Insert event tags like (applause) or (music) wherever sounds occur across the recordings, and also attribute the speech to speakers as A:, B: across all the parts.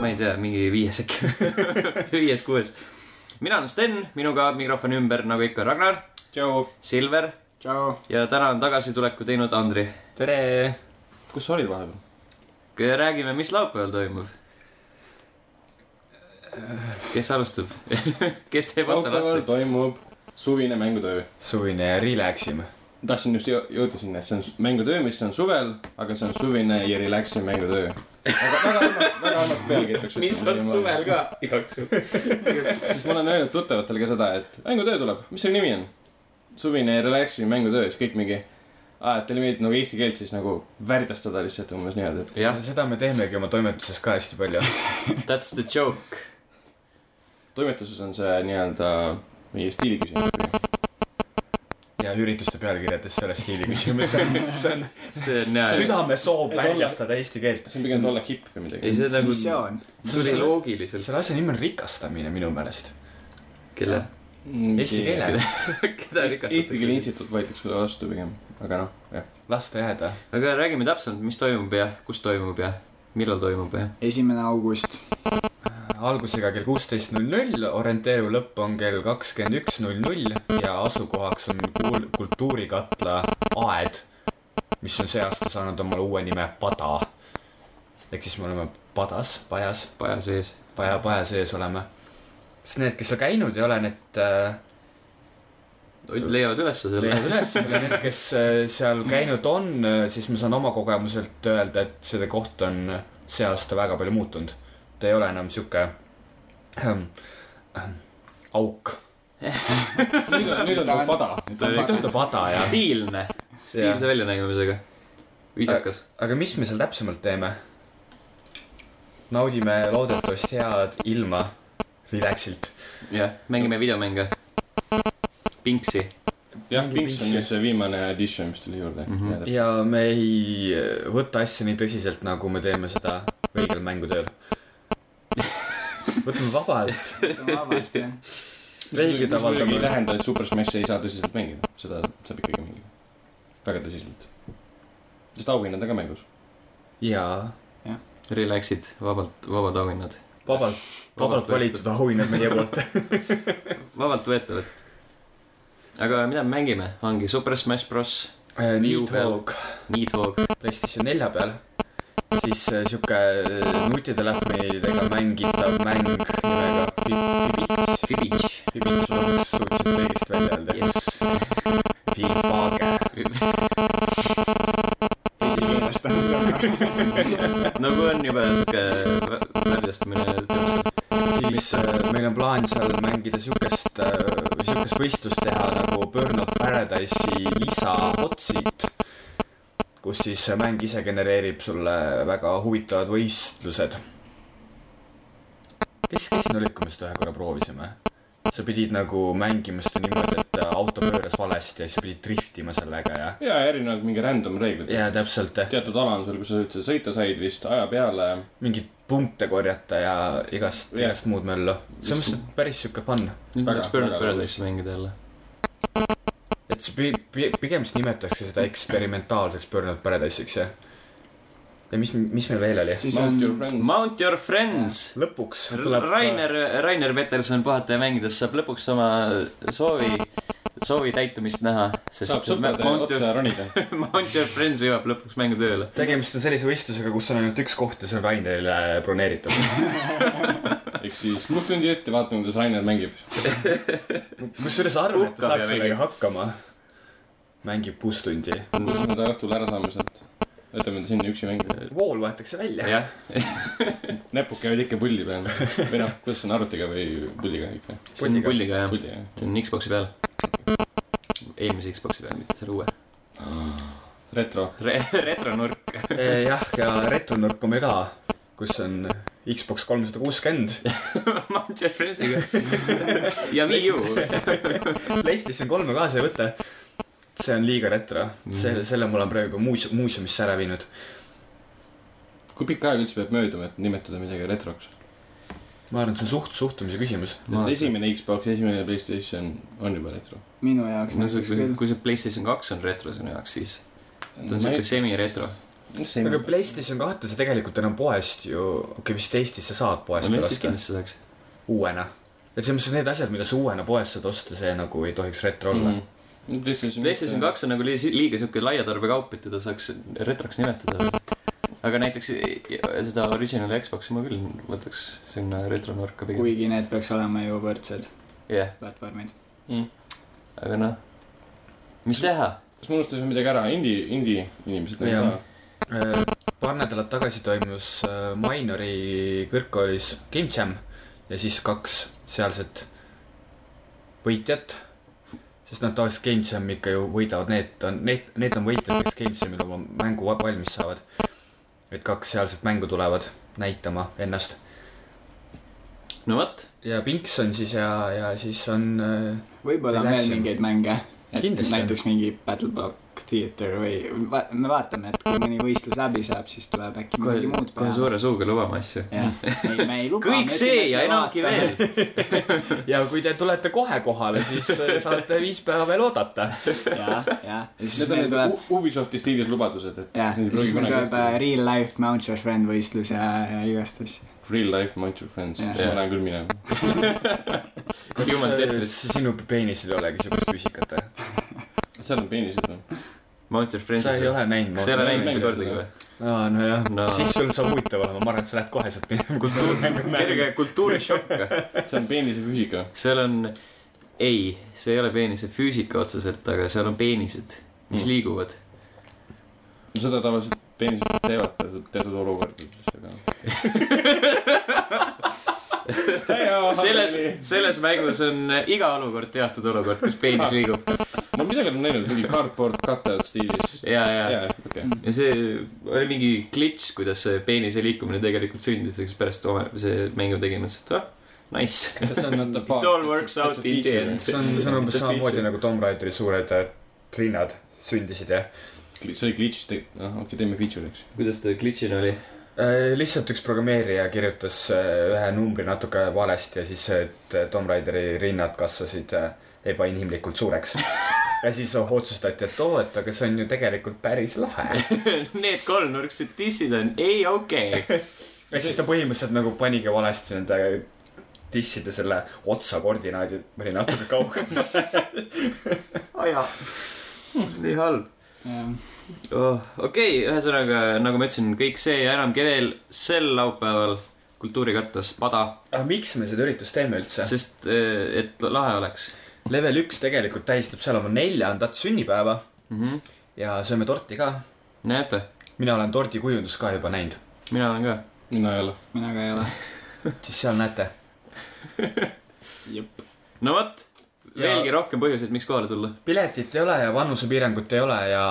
A: ma ei tea , mingi viies äkki , viies-kuues . mina olen Sten , minuga mikrofoni ümber , nagu ikka , Ragnar ,
B: tšau .
A: Silver
C: tšau .
A: ja täna on tagasituleku teinud Andri .
B: tere . kus sa olid vahepeal ?
A: räägime , mis laupäeval toimub . kes alustab ? (laughs) kes teeb otsa
B: laupäeval
A: lahti ?
B: toimub suvine mängutöö .
C: suvine relaxing .
B: tahtsin just jõ- jõuda sinna , et see on s- mängutöö , mis on suvel , aga see on suvine ja relaxing mängutöö . aga väga armas , väga armas pealkiri peaks
A: ka igaks juhuks .
B: siis ma olen öelnud tuttavatele ka seda , et mängutöö tuleb , mis selle nimi on ? suvine relaxing mängutöö , siis kõik mingi , aa , et teile meeldib nagu eesti keelt siis nagu värdjastada lihtsalt umbes niimoodi , et
A: jah ,
C: seda me teemegi oma toimetuses ka hästi palju .
A: that's the joke .
B: toimetuses on see nii-öelda meie stiili küsimus .
C: ja ürituste pealkirjades selle stiili küsimus , (laughs) see on , see on
A: see on jah .
C: südame soov väljastada eesti keelt .
B: see on pigem olla hipp või midagi
A: ei ,. see nagu
D: mis see on ?
A: tuli loogiliselt .
C: selle asja nimi on rikastamine minu meelest .
A: kelle ?
C: Eesti keele , (laughs)
A: keda
B: Eesti Keele
A: rikastatakse ?
B: Instituut võetakse sulle vastu pigem , aga noh , jah .
C: lasta jääda .
A: aga räägime täpsemalt , mis toimub ja kus toimub ja millal toimub ja .
D: esimene august .
C: algusega kell kuusteist null null , orienteeru lõpp on kell kakskümmend üks null null ja asukohaks on kuul- , kultuurikatla aed , mis on see aasta saanud omale uue nime Pada . ehk siis me oleme padas , pajas
A: paja sees .
C: paja , paja sees olema . sest need , kes seal käinud ei ole , need äh,
A: leiavad ülesse
C: (laughs)
A: selle .
C: leiavad üles , need , kes äh, seal käinud on , siis ma saan oma kogemuselt öelda , et see koht on äh, see aasta väga palju muutunud . ta ei ole enam sihuke ähm, ähm, auk .
B: (laughs) nüüd on , nüüd on nagu pada .
C: ta tundub hada ja ,
A: stiilne , stiilse väljanägemisega . viisakas .
C: aga mis me seal täpsemalt teeme ? naudime loodetavasti head ilma relax'ilt .
A: jah , mängime videomänge . Pinksi .
B: jah , Pinks on nüüd see viimane edition , mis tuli juurde
A: Mhm.
B: mm . -hmm.
C: ja me ei eh, võta asja nii tõsiselt , nagu me teeme seda õigel mängutööl . võtame vabalt ,
D: vabalt jah .
C: Veidi
B: mis muidugi
C: tavaline.
B: ei tähenda , et Super Smashi ei saa tõsiselt mängida , seda saab ikkagi mängida . väga tõsiselt . sest auhinnad on ka mängus .
C: jaa ,
A: Relax'id , vabalt , vabad auhinnad .
C: vabalt , vabalt valitud . auhinnad meie poolt .
A: vabalt võetavad . aga mida me mängime , ongi Super Smash Bros , New
C: Nidhogg
A: Needhog ,
C: PlayStation nelja peal , siis äh, sihuke äh, nutitelefonidega mängitav mäng nimega Pipits ,
A: Fibich ,
C: Pipits , ma suutsin kõigist välja öelda .
A: jess .
C: Pipage ,
A: nagu on juba siuke vä- väljastamine .
C: siis äh, meil on plaan seal mängida siukest , siukest võistlust teha nagu Burnout Paradise'i lisa Hotseat , kus siis see mäng ise genereerib sulle väga huvitavad võistlused . kes , kes siin olid , kui me seda ühe korra proovisime ? sa pidid nagu mängima seda niimoodi , et auto pööras valesti ja siis sa pidid driftima sellega ja ,
B: ja erinevad mingi random reeglid .
C: ja täpselt
B: teatud ala on sul , kus sa üldse sõita said vist aja peale .
C: mingeid punkte korjata ja igast ,
B: Jah.
C: igast muud möllu . see on vist päris siuke fun
A: nüüd
B: Väga-
A: peaks Burnout
B: väga
A: Paradise'i mängida jälle .
C: et see pi- , pi- , pigem vist nimetatakse seda eksperimentaalseks Burnout Paradise'iks , jah . ja mis , mis meil veel oli ?
D: siis on ,
A: Mount your friends
C: lõpuks tuleb
A: Rainer , Rainer Peterson puhataja mängides saab lõpuks oma soovi , soovi täitumist näha ,
B: saab
A: sest
B: sõprade
A: Mount
B: otsa
A: Your-
B: ronida .
A: (laughs) Mount Your Friends jõuab lõpuks mängu tööle .
C: tegemist on sellise võistlusega , kus on ainult üks koht ja see on Rainerile broneeritud .
B: ehk (laughs) siis kuus tundi ette vaatame , kuidas Rainer mängib .
C: kusjuures arvan , et
A: Hukkab ja
C: ta saaks
A: mängib.
C: sellega hakkama . mängib kuus tundi .
B: kuidas me ta õhtul ära saame sealt . jätame ta sinna üksi mängima .
C: vool võetakse välja .
A: jah ,
B: näpud käivad ikka pulli peal või noh , kuidas see on arvutiga või pulliga ikka ,
A: see on
C: Pulliga.
A: pulliga jah ,
B: pulli jah .
A: see on Xbox'i peal . eelmise Xbox'i peal , mitte selle uue
B: retro ,
A: Re . retronurk ,
C: E, jah , ja retronurk on meil ka , kus on Xbox kolmsada kuuskümmend ,
A: (laughs) Mount Your Friendsiga ja Wii U .
C: (laughs) PlayStation kolme kaasa ei võta . see on liiga retro ,
A: Mhm.
C: selle , selle ma olen praegu juba muuseum , muuseumisse ära viinud .
B: kui pikka aega üldse peab mööduma , et nimetada midagi retroks ?
C: ma arvan , et see on suht- , suhtumise küsimus .
B: esimene Xbox , esimene Playstation on juba retro .
D: minu jaoks
A: no see ,
D: näiteks
A: kui
D: küll .
A: kui see PlayStation kaks on retro sinu jaaks , siis ta on siuke semi-retro .
C: aga PlayStation kahte sa tegelikult enam poest ju , okei okay, , vist Eestis sa saad poest
A: ma
C: ju
A: lihtsalt
C: osta
A: kindlasti saaks .
C: uuena . et selles mõttes need asjad , mida sa uuena poest saad osta , see nagu ei tohiks retro olla mm. .
B: Mhm. PlayStation
A: PlayStation . kaks on nagu liiga, liiga siuke laiatarbekaup , et teda saaks retroks nimetada . aga näiteks seda original Xbox'i ma küll võtaks sinna retronurka pigem .
D: kuigi need peaks olema ju võrdsed
A: jah ,
D: platvormid .
A: aga noh , mis teha ,
B: kas ma unustasin midagi ära , indie , indie inimesed
C: Jah.
B: nagu
C: Äh, paar nädalat tagasi toimus äh, Minori kõrgkoolis Game Jam ja siis kaks sealset võitjat . sest nad tavaliselt Game Jami ikka ju võidavad , need on , need , need on võitjad , kes Game Jamil oma mängu va- valmis saavad . et kaks sealset mängu tulevad näitama ennast
A: no vot ,
C: ja Pinks on siis ja , ja siis on äh,
D: võib-olla on veel
C: Relaxing.
D: mingeid mänge .
C: Kindlasti.
D: näiteks mingi Battle Block Theater või va- me vaatame , et kui mõni võistlus läbi saab , siis tuleb äkki
A: kohe
D: midagi muud ,
A: kohe
D: peale .
A: suure suuga lubame asju .
D: jah , ei me ei luba .
A: kõik see ja enamgi veel .
C: ja kui te tulete kohe kohale , siis
A: (laughs)
C: äh, saate viis päeva veel oodata .
D: jah , jah . ja
B: Need
D: siis
B: on
D: meil tuleb
B: need U- Ubisofti stiilis lubadused , et
D: jah ,
B: Ei pruugi
D: siis meil
B: kunagi
D: tuleb äh, Real Life Mount Your Friend võistlus ja , ja igast asju .
B: real life mind your friends ,
D: Jah.
B: siis ma lähen küll minema .
C: kas
A: Human
C: äh,
A: Tetris.
C: sinu peenisel ei olegi siukest püsikat või ?
B: seal on peenised noh. või ?
A: Mount your
C: sa ei
A: friends'i .
C: ole näinud .
A: kas sa ei ole näinud
B: Mängu-
A: seda kordagi või ?
C: aa , nojah
A: No.
C: no. , siis sul saab huvitav olema , ma arvan , et sa lähed kohe sealt minema , kus sul nagu mängu
A: kerge kultuurishokk .
B: see on peenise füüsika .
A: seal on , ei , see ei ole peenise füüsika otseselt , aga seal on peenised , mis
C: Hmm.
B: Mm.
A: liiguvad .
B: seda tavaliselt peenised teevad teatud- teatud olukordades , aga .
A: selles , selles mängus on iga olukord teatud olukord , kus peenis
D: (laughs)
A: liigub
B: ma midagi olen näinud , mingi cardboard cutout stiilis .
A: ja , ja ,
B: jaa ,
C: (laughs) Mm.
B: okei .
A: ja see oli mingi klits , kuidas see peenise liikumine tegelikult sündis , eks pärast oma see mängu tegime , ütlesin , et ah , nice . It all works out in the end.
C: see on , see on umbes
A: See on
C: samamoodi
A: feature.
C: nagu Tomb Raideri suured äh, rinnad sündisid jah
B: see oli glitch , noh okei okay, , teeme feature'i , eks .
A: (laughs) kuidas ta klitsina oli ?
C: äh, . lihtsalt üks programmeerija kirjutas äh, ühe numbri natuke valesti ja siis , et äh, Tomb Raideri rinnad kasvasid äh, ebainimlikult (laughs) suureks . ja siis otsustati , et oo , et aga see on ju tegelikult päris lahe .
A: (laughs) Need kolmnurksed dissid on ei okei okay. .
C: ehk siis ta põhimõtteliselt nagu panigi valesti nende disside selle otsa koordinaadid , pani natuke kaugemale .
A: (laughs) aja . nii halb . oh, . okei okay, , ühesõnaga , nagu ma ütlesin , kõik see ja enamgi veel sel laupäeval kultuurikattas Pada ,
C: (laughs) aga miks me seda üritust teeme üldse ?
A: sest eh, et lahe oleks
C: level üks tegelikult tähistab seal oma neljandat sünnipäeva
A: mm . -hmm.
C: ja sööme torti ka .
A: näete ,
C: mina olen tordikujundust ka juba näinud ,
A: mina olen ka .
B: mina ei ole .
D: mina ka ei ole .
C: siis seal näete .
D: jep .
A: no vot ,
C: Ja-
A: veelgi rohkem põhjuseid , miks kohale tulla .
C: piletit ei ole ja vanusepiirangut ei ole ja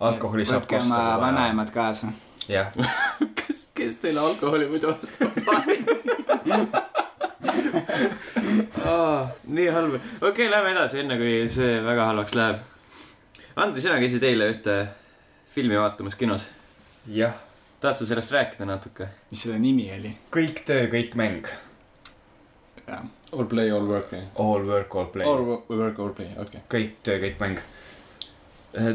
C: alkoholi saab
D: võtke oma
C: kosta .
D: vanaemad kaasa .
C: jah ,
A: kes , kes teile alkoholi muidu ostab (laughs) oh, ? nii halb , okei okay, , lähme edasi , enne kui see väga halvaks läheb . Andri , sina käisid eile ühte filmi vaatamas kinos .
C: jah ,
A: tahad sa sellest rääkida natuke ?
D: mis selle nimi oli ?
C: kõik töö , kõik mäng ,
B: All play , all work , jah .
C: all work , all play .
B: All wo- work , all play , okei .
C: kõik töö , kõik mäng .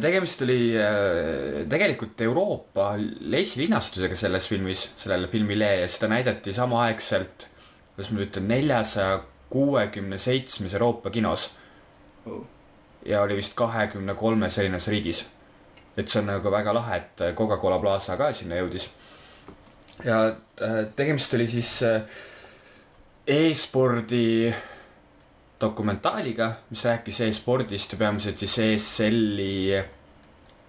C: tegemist oli äh, tegelikult Euroopa esilinastusega selles filmis , sellele filmile ja seda näidati samaaegselt , kuidas ma nüüd ütlen , neljasaja kuuekümne seitsmes Euroopa kinos
D: Oh. .
C: ja oli vist kahekümne kolmes erinevas riigis . et see on nagu väga lahe , et Coca-Cola Plaza ka sinna jõudis . ja äh, tegemist oli siis äh, e-spordi dokumentaaliga , mis rääkis e-spordist ja peamiselt siis E ESL-i ,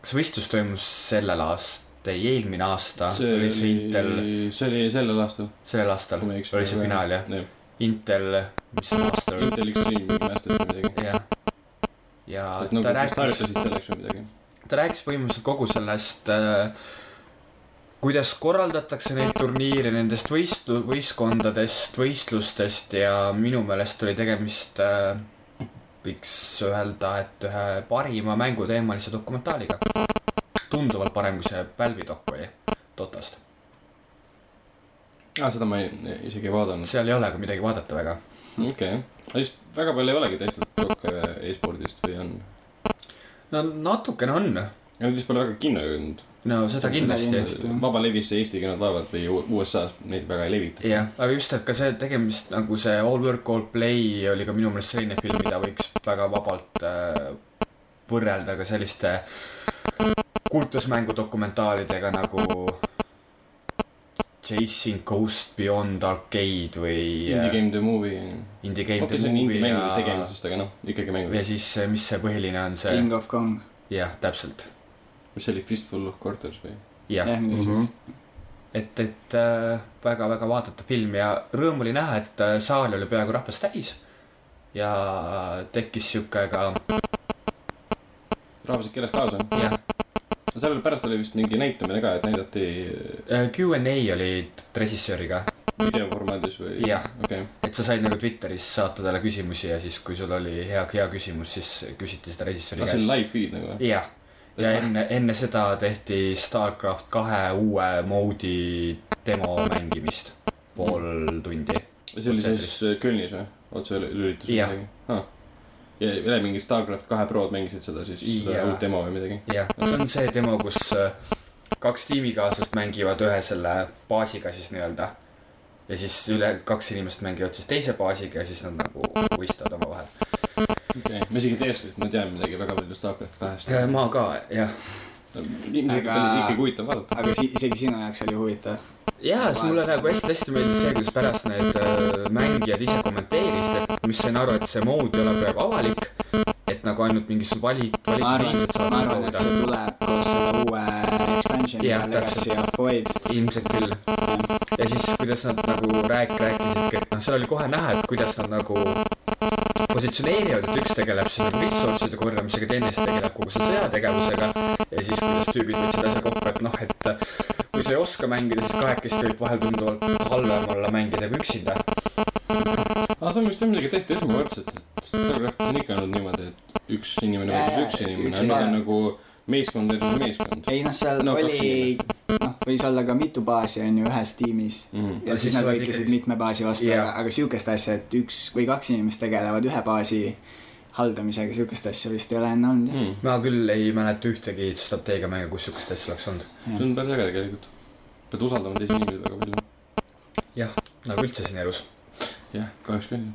C: kas võistlus toimus sellel aastal , ei eelmine aasta ,
B: see
C: Ah, oli see Intel ,
B: oli , see oli sellel aastal .
C: sellel aastal
B: kui ma ei eksi,
C: oli see
B: praegu
C: finaal jah ,
B: jah .
C: Intel , mis aastal
B: Intel
C: oli ,
B: Extreme mingi mästus või midagi .
C: jah . ja
B: et
C: Ah, ta
B: nagu kas
C: rääkis ,
B: harjutasid selleks või midagi .
C: ta rääkis põhimõtteliselt kogu sellest äh, kuidas korraldatakse neid turniire , nendest võistlu- , võistkondadest , võistlustest ja minu meelest oli tegemist äh, võiks öelda , et ühe parima mänguteemalise dokumentaaliga . tunduvalt parem , kui see Valve'i dok oli Dotast .
B: aa , Ah, seda ma ei , isegi ei vaadanud .
C: seal ei ole ka midagi vaadata väga .
B: okei okay. , aga siis väga palju ei olegi tehtud dokke e-spordist või on ?
C: no natukene on ,
B: Nad vist pole väga kinno jõudnud .
C: no seda kindlasti .
D: kindlasti. jah.
B: vabalevisse Eesti kinod vaevalt või U- USA-s neid väga ei levita .
C: jah , aga just , et ka see tegemist nagu see All work , all play oli ka minu meelest selline film , mida võiks väga vabalt äh, võrrelda ka selliste kultusmängu dokumentaalidega nagu Chasing Ghost Beyond Arcade või
B: Indie
C: äh,
B: Game The Movie .
C: Indie Game
B: okei ,
C: The
B: see on indie
C: Movie
B: mängude
C: ja ,
B: tegemisest , aga noh , ikkagi mängud
C: ja . siis , mis see põhiline on see ,
D: King of Kong .
C: jah , täpselt ,
B: mis see oli , Fistful of Quarters või ?
C: jah
D: jah , midagi
A: Mhm.
D: sellist .
C: et , et äh, väga-väga vaadata film ja rõõm oli näha , et äh, saal oli peaaegu rahvast täis ja äh, tekkis sihuke ka
B: rahvuslik keeles kaasa .
C: jah ,
B: seal pärast oli vist mingi näitamine ka , et näidati äh,
C: äh, Q and A oli režissööriga ,
B: videoformaadis või ?
C: Jah.
B: okei ,
C: et sa said nagu Twitteris saata talle küsimusi ja siis , kui sul oli hea , hea küsimus , siis küsiti seda režissööri
B: aga see on
C: käest .
B: live feed nagu või ?
C: jah , ja enne , enne seda tehti Starcraft kahe uue moodi demo mängimist pool tundi .
B: see oli siis äh, Kölnis või ? otselülitus või
C: Jah.
B: midagi ? ja üle mingi Starcraft kahe prod mängisid seda siis , seda
C: Jah.
B: uut demo või midagi ?
C: jah , see on see demo , kus äh, kaks tiimikaaslast mängivad ühe selle baasiga siis nii-öelda . ja siis üle kaks inimest mängivad siis teise baasiga ja siis nad nagu võistlevad omavahel .
B: okei , ma isegi teadsin , et ma tean midagi väga palju Starcraft kahest .
C: ma ka , jah .
B: ilmselt
D: Aga-
B: oli ikkagi huvitav vaadata .
D: aga si- , isegi sinu jaoks oli huvitav .
C: jaa , siis mulle nagu hästi-hästi meeldis see , kuidas pärast need äh, mängijad ise kommenteerisid , et mis sain aru , et see mood ei ole praegu avalik , et nagu ainult mingisugused valik ,
D: ma arvan ,
C: valikliinid
D: ma
C: saavad nagu
D: arvan , et
C: koguda .
D: see tuleb koos selle uue expansioniga
C: Jah, ,
D: Legacy
C: täpselt.
D: of Void .
C: ilmselt küll . ja siis , kuidas nad nagu rääk- , rääkisidki , et noh , seal oli kohe näha , et kuidas nad nagu positsioneerivad , et üks tegeleb siis nagu ressursside korjamisega , teine siis tegeleb kogu selle sõjategevusega ja siis kuidas tüübid võtsid asja kokku , et noh , et kui sa ei oska mängida , siis kahekesti võib vahel tunduvalt halvem olla mängida kui üksinda .
B: aga see on vist jah midagi täiesti esmakordset , et Starcraftis on ikka olnud niimoodi , et üks inimene
D: Jaa,
B: versus
D: jaa,
B: üks
D: üks
B: inimene , nüüd on
D: inimene.
B: nagu meeskond versus meeskond .
D: ei noh , seal
B: No,
D: no,
B: kaks
D: oli , noh , võis olla ka mitu baasi on ju ühes tiimis .
B: Mhm.
D: ja
C: No
D: siis
C: siis
D: nad
C: sa oled
D: võitlesid
C: ikkagi-
D: mitme baasi vastu
C: Jah.
D: yeah. , aga sihukest asja , et üks või kaks inimest tegelevad ühe baasi haldamisega , sihukest asja vist ei ole enne olnud jah.
B: see
C: ma küll ei mäleta ühtegi strateegiamänge , kus sihukest asja oleks olnud .
B: on päris äge tegelikult . pead usaldama teisi inimesi väga palju .
C: nagu üldse siin elus .
B: jah , kahjuks küll .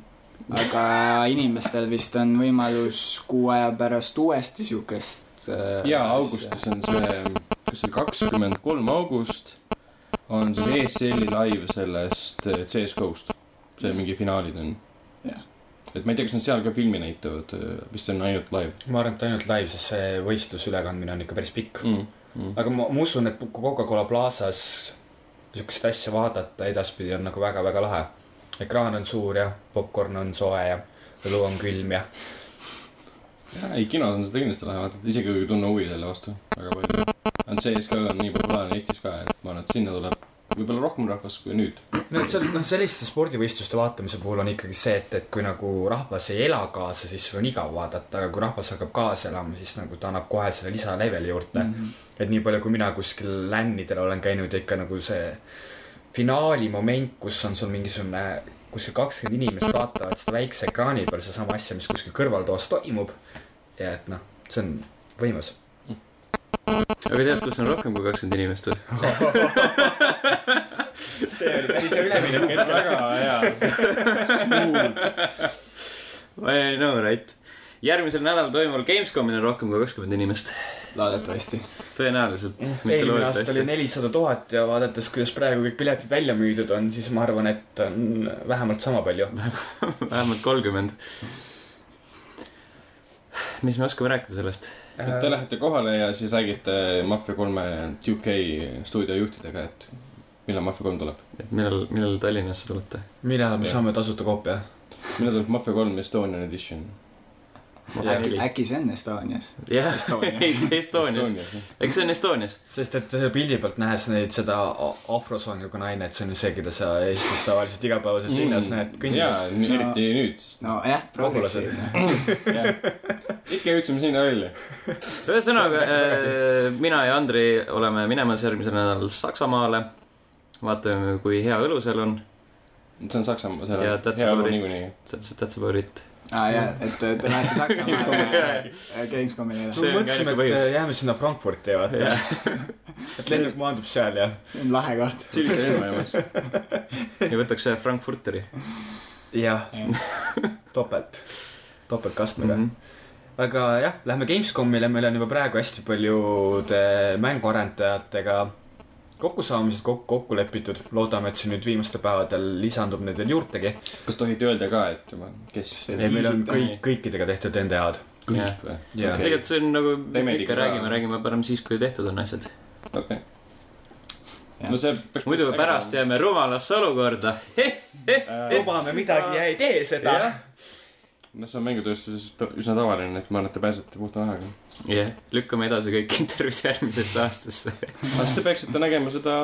D: aga inimestel vist on võimalus kuu aja pärast uuesti sihukest äh,
B: ja . augustis on see , kas see oli kakskümmend kolm august , on E siis ESL-i live sellest eh, CS GO-st . see mingi finaalid on
D: Jah. .
B: et ma ei tea , kas nad seal ka filmi näitavad , vist see on ainult live
C: ma arvan , et ainult live , sest see võistlusülekandmine on ikka päris pikk .
B: mm. . Mm.
C: aga ma , ma usun , et Coca-Cola Plazas sihukest asja vaadata edaspidi on nagu väga-väga lahe . ekraan on suur ja popkorn on soe ja õlu on külm ja
B: Jaa, Äh, ei , kinos on seda kindlasti lahe vaadata , isegi kui ei tunne huvi selle vastu väga palju . ainult CS ka on nii populaarne Eestis ka , et ma arvan , et sinna tuleb võib-olla rohkem rahvast kui nüüd .
C: no et seal noh , selliste spordivõistluste vaatamise puhul on ikkagi see , et , et kui nagu rahvas ei ela kaasa , siis sul on igav vaadata , aga kui rahvas hakkab kaasa elama , siis nagu ta annab kohe selle lisaleveli juurde mm .
D: Mhm.
C: -hmm. et nii palju , kui mina kuskil lännidel olen käinud ja ikka nagu see finaali moment , kus on sul mingisugune kuskil kakskümmend inimest vaatavad seda väikse ekraani peal sedasama asja , mis kuskil kõrvaltoas toimub . ja et noh , see on võimas .
A: aga tead , kus on rohkem kui kakskümmend inimest või ?
C: see oli päris hea üleminek .
B: väga hea .
A: I know right . järgmisel nädalal toimuval Gamescomil on rohkem kui kakskümmend inimest .
D: loodetavasti .
A: tõenäoliselt , mitte
C: eelmine aasta oli
A: loodetavasti .
C: nelisada tuhat ja vaadates , kuidas praegu kõik piletid välja müüdud on , siis ma arvan , et on vähemalt sama palju .
A: (laughs) vähemalt kolmkümmend . mis me oskame rääkida sellest ?
C: Äh.
B: et te lähete kohale ja siis räägite Mafia kolme 2K stuudio juhtidega , et millal Mafia kolm tuleb .
A: millal , millal Tallinnasse tulete ?
C: millal me
B: Jah.
C: saame tasuta koopia ?
B: millal tuleb Mafia kolm Estonian edition ?
D: äkki , äkki see on Estonias ?
A: jah , (laughs)
D: Estonias.
A: Estonias , eks see on Estonias .
C: sest et selle pildi pealt nähes neid seda a- afrosoongiga naine , et see on ju see , keda sa Eestis tavaliselt igapäevaselt linnas
A: Mm.
C: näed kõndimas .
B: jaa , eriti nüüd , sest
D: nojah , progressiivne .
B: jah. ikka jõudsime sinna välja .
A: ühesõnaga , mina ja Andri oleme minemas järgmisel nädalal Saksamaale . vaatame , kui hea õlu seal on .
B: see on Saksamaa , seal
A: Yeah,
B: on
A: that's
B: hea
A: about
B: olu
A: it.
B: niikuinii .
A: That's , that's about it .
D: aa jaa , Ah, et te te lähete Saksamaale äh, Gamescomile ja
A: See on
C: me
A: ka
C: mõtlesime ,
A: ainuke
C: et
A: põhjus.
C: põhjus. jääme sinna Frankfurti vaata . (laughs) et lennuk maandub seal ja ,
D: see on lahe koht .
B: Tšillika lennu juures .
A: ja võtaks ühe Frankfurteri
C: jah
D: Jah. ,
C: topelt , topeltkastmega mm .
A: mm .
C: -hmm. aga jah , lähme Gamescomile , meil on juba praegu hästi paljude mänguarendajatega kokkusaamised kokku , kokku lepitud . loodame , et siin nüüd viimastel päevadel lisandub neid veel juurdegi .
B: kas tohite öelda ka , et juba , kes
D: See-
C: ei , meil on
D: Viisid-
C: kõik , kõikidega tehtud NDA-d .
A: Jah.
B: kõik või ?
C: Jah.
B: Okei.
A: tegelikult see on nagu , me
B: Remediga
A: ikka
B: ka.
A: räägime , räägime parem siis , kui tehtud on asjad .
B: okei .
D: Jah.
B: no see peaks .
A: muidu pärast jääme rumalasse olukorda .
B: jah .
C: lubame midagi ja ei tee seda
A: Jah.
B: no see on mängutööstuses ta- üsna tavaline , et ma arvan , et te pääsete puhta nahaga .
A: jah , lükkame edasi kõik (laughs) intervjuud järgmisesse aastasse .
B: aga siis te peaksite nägema seda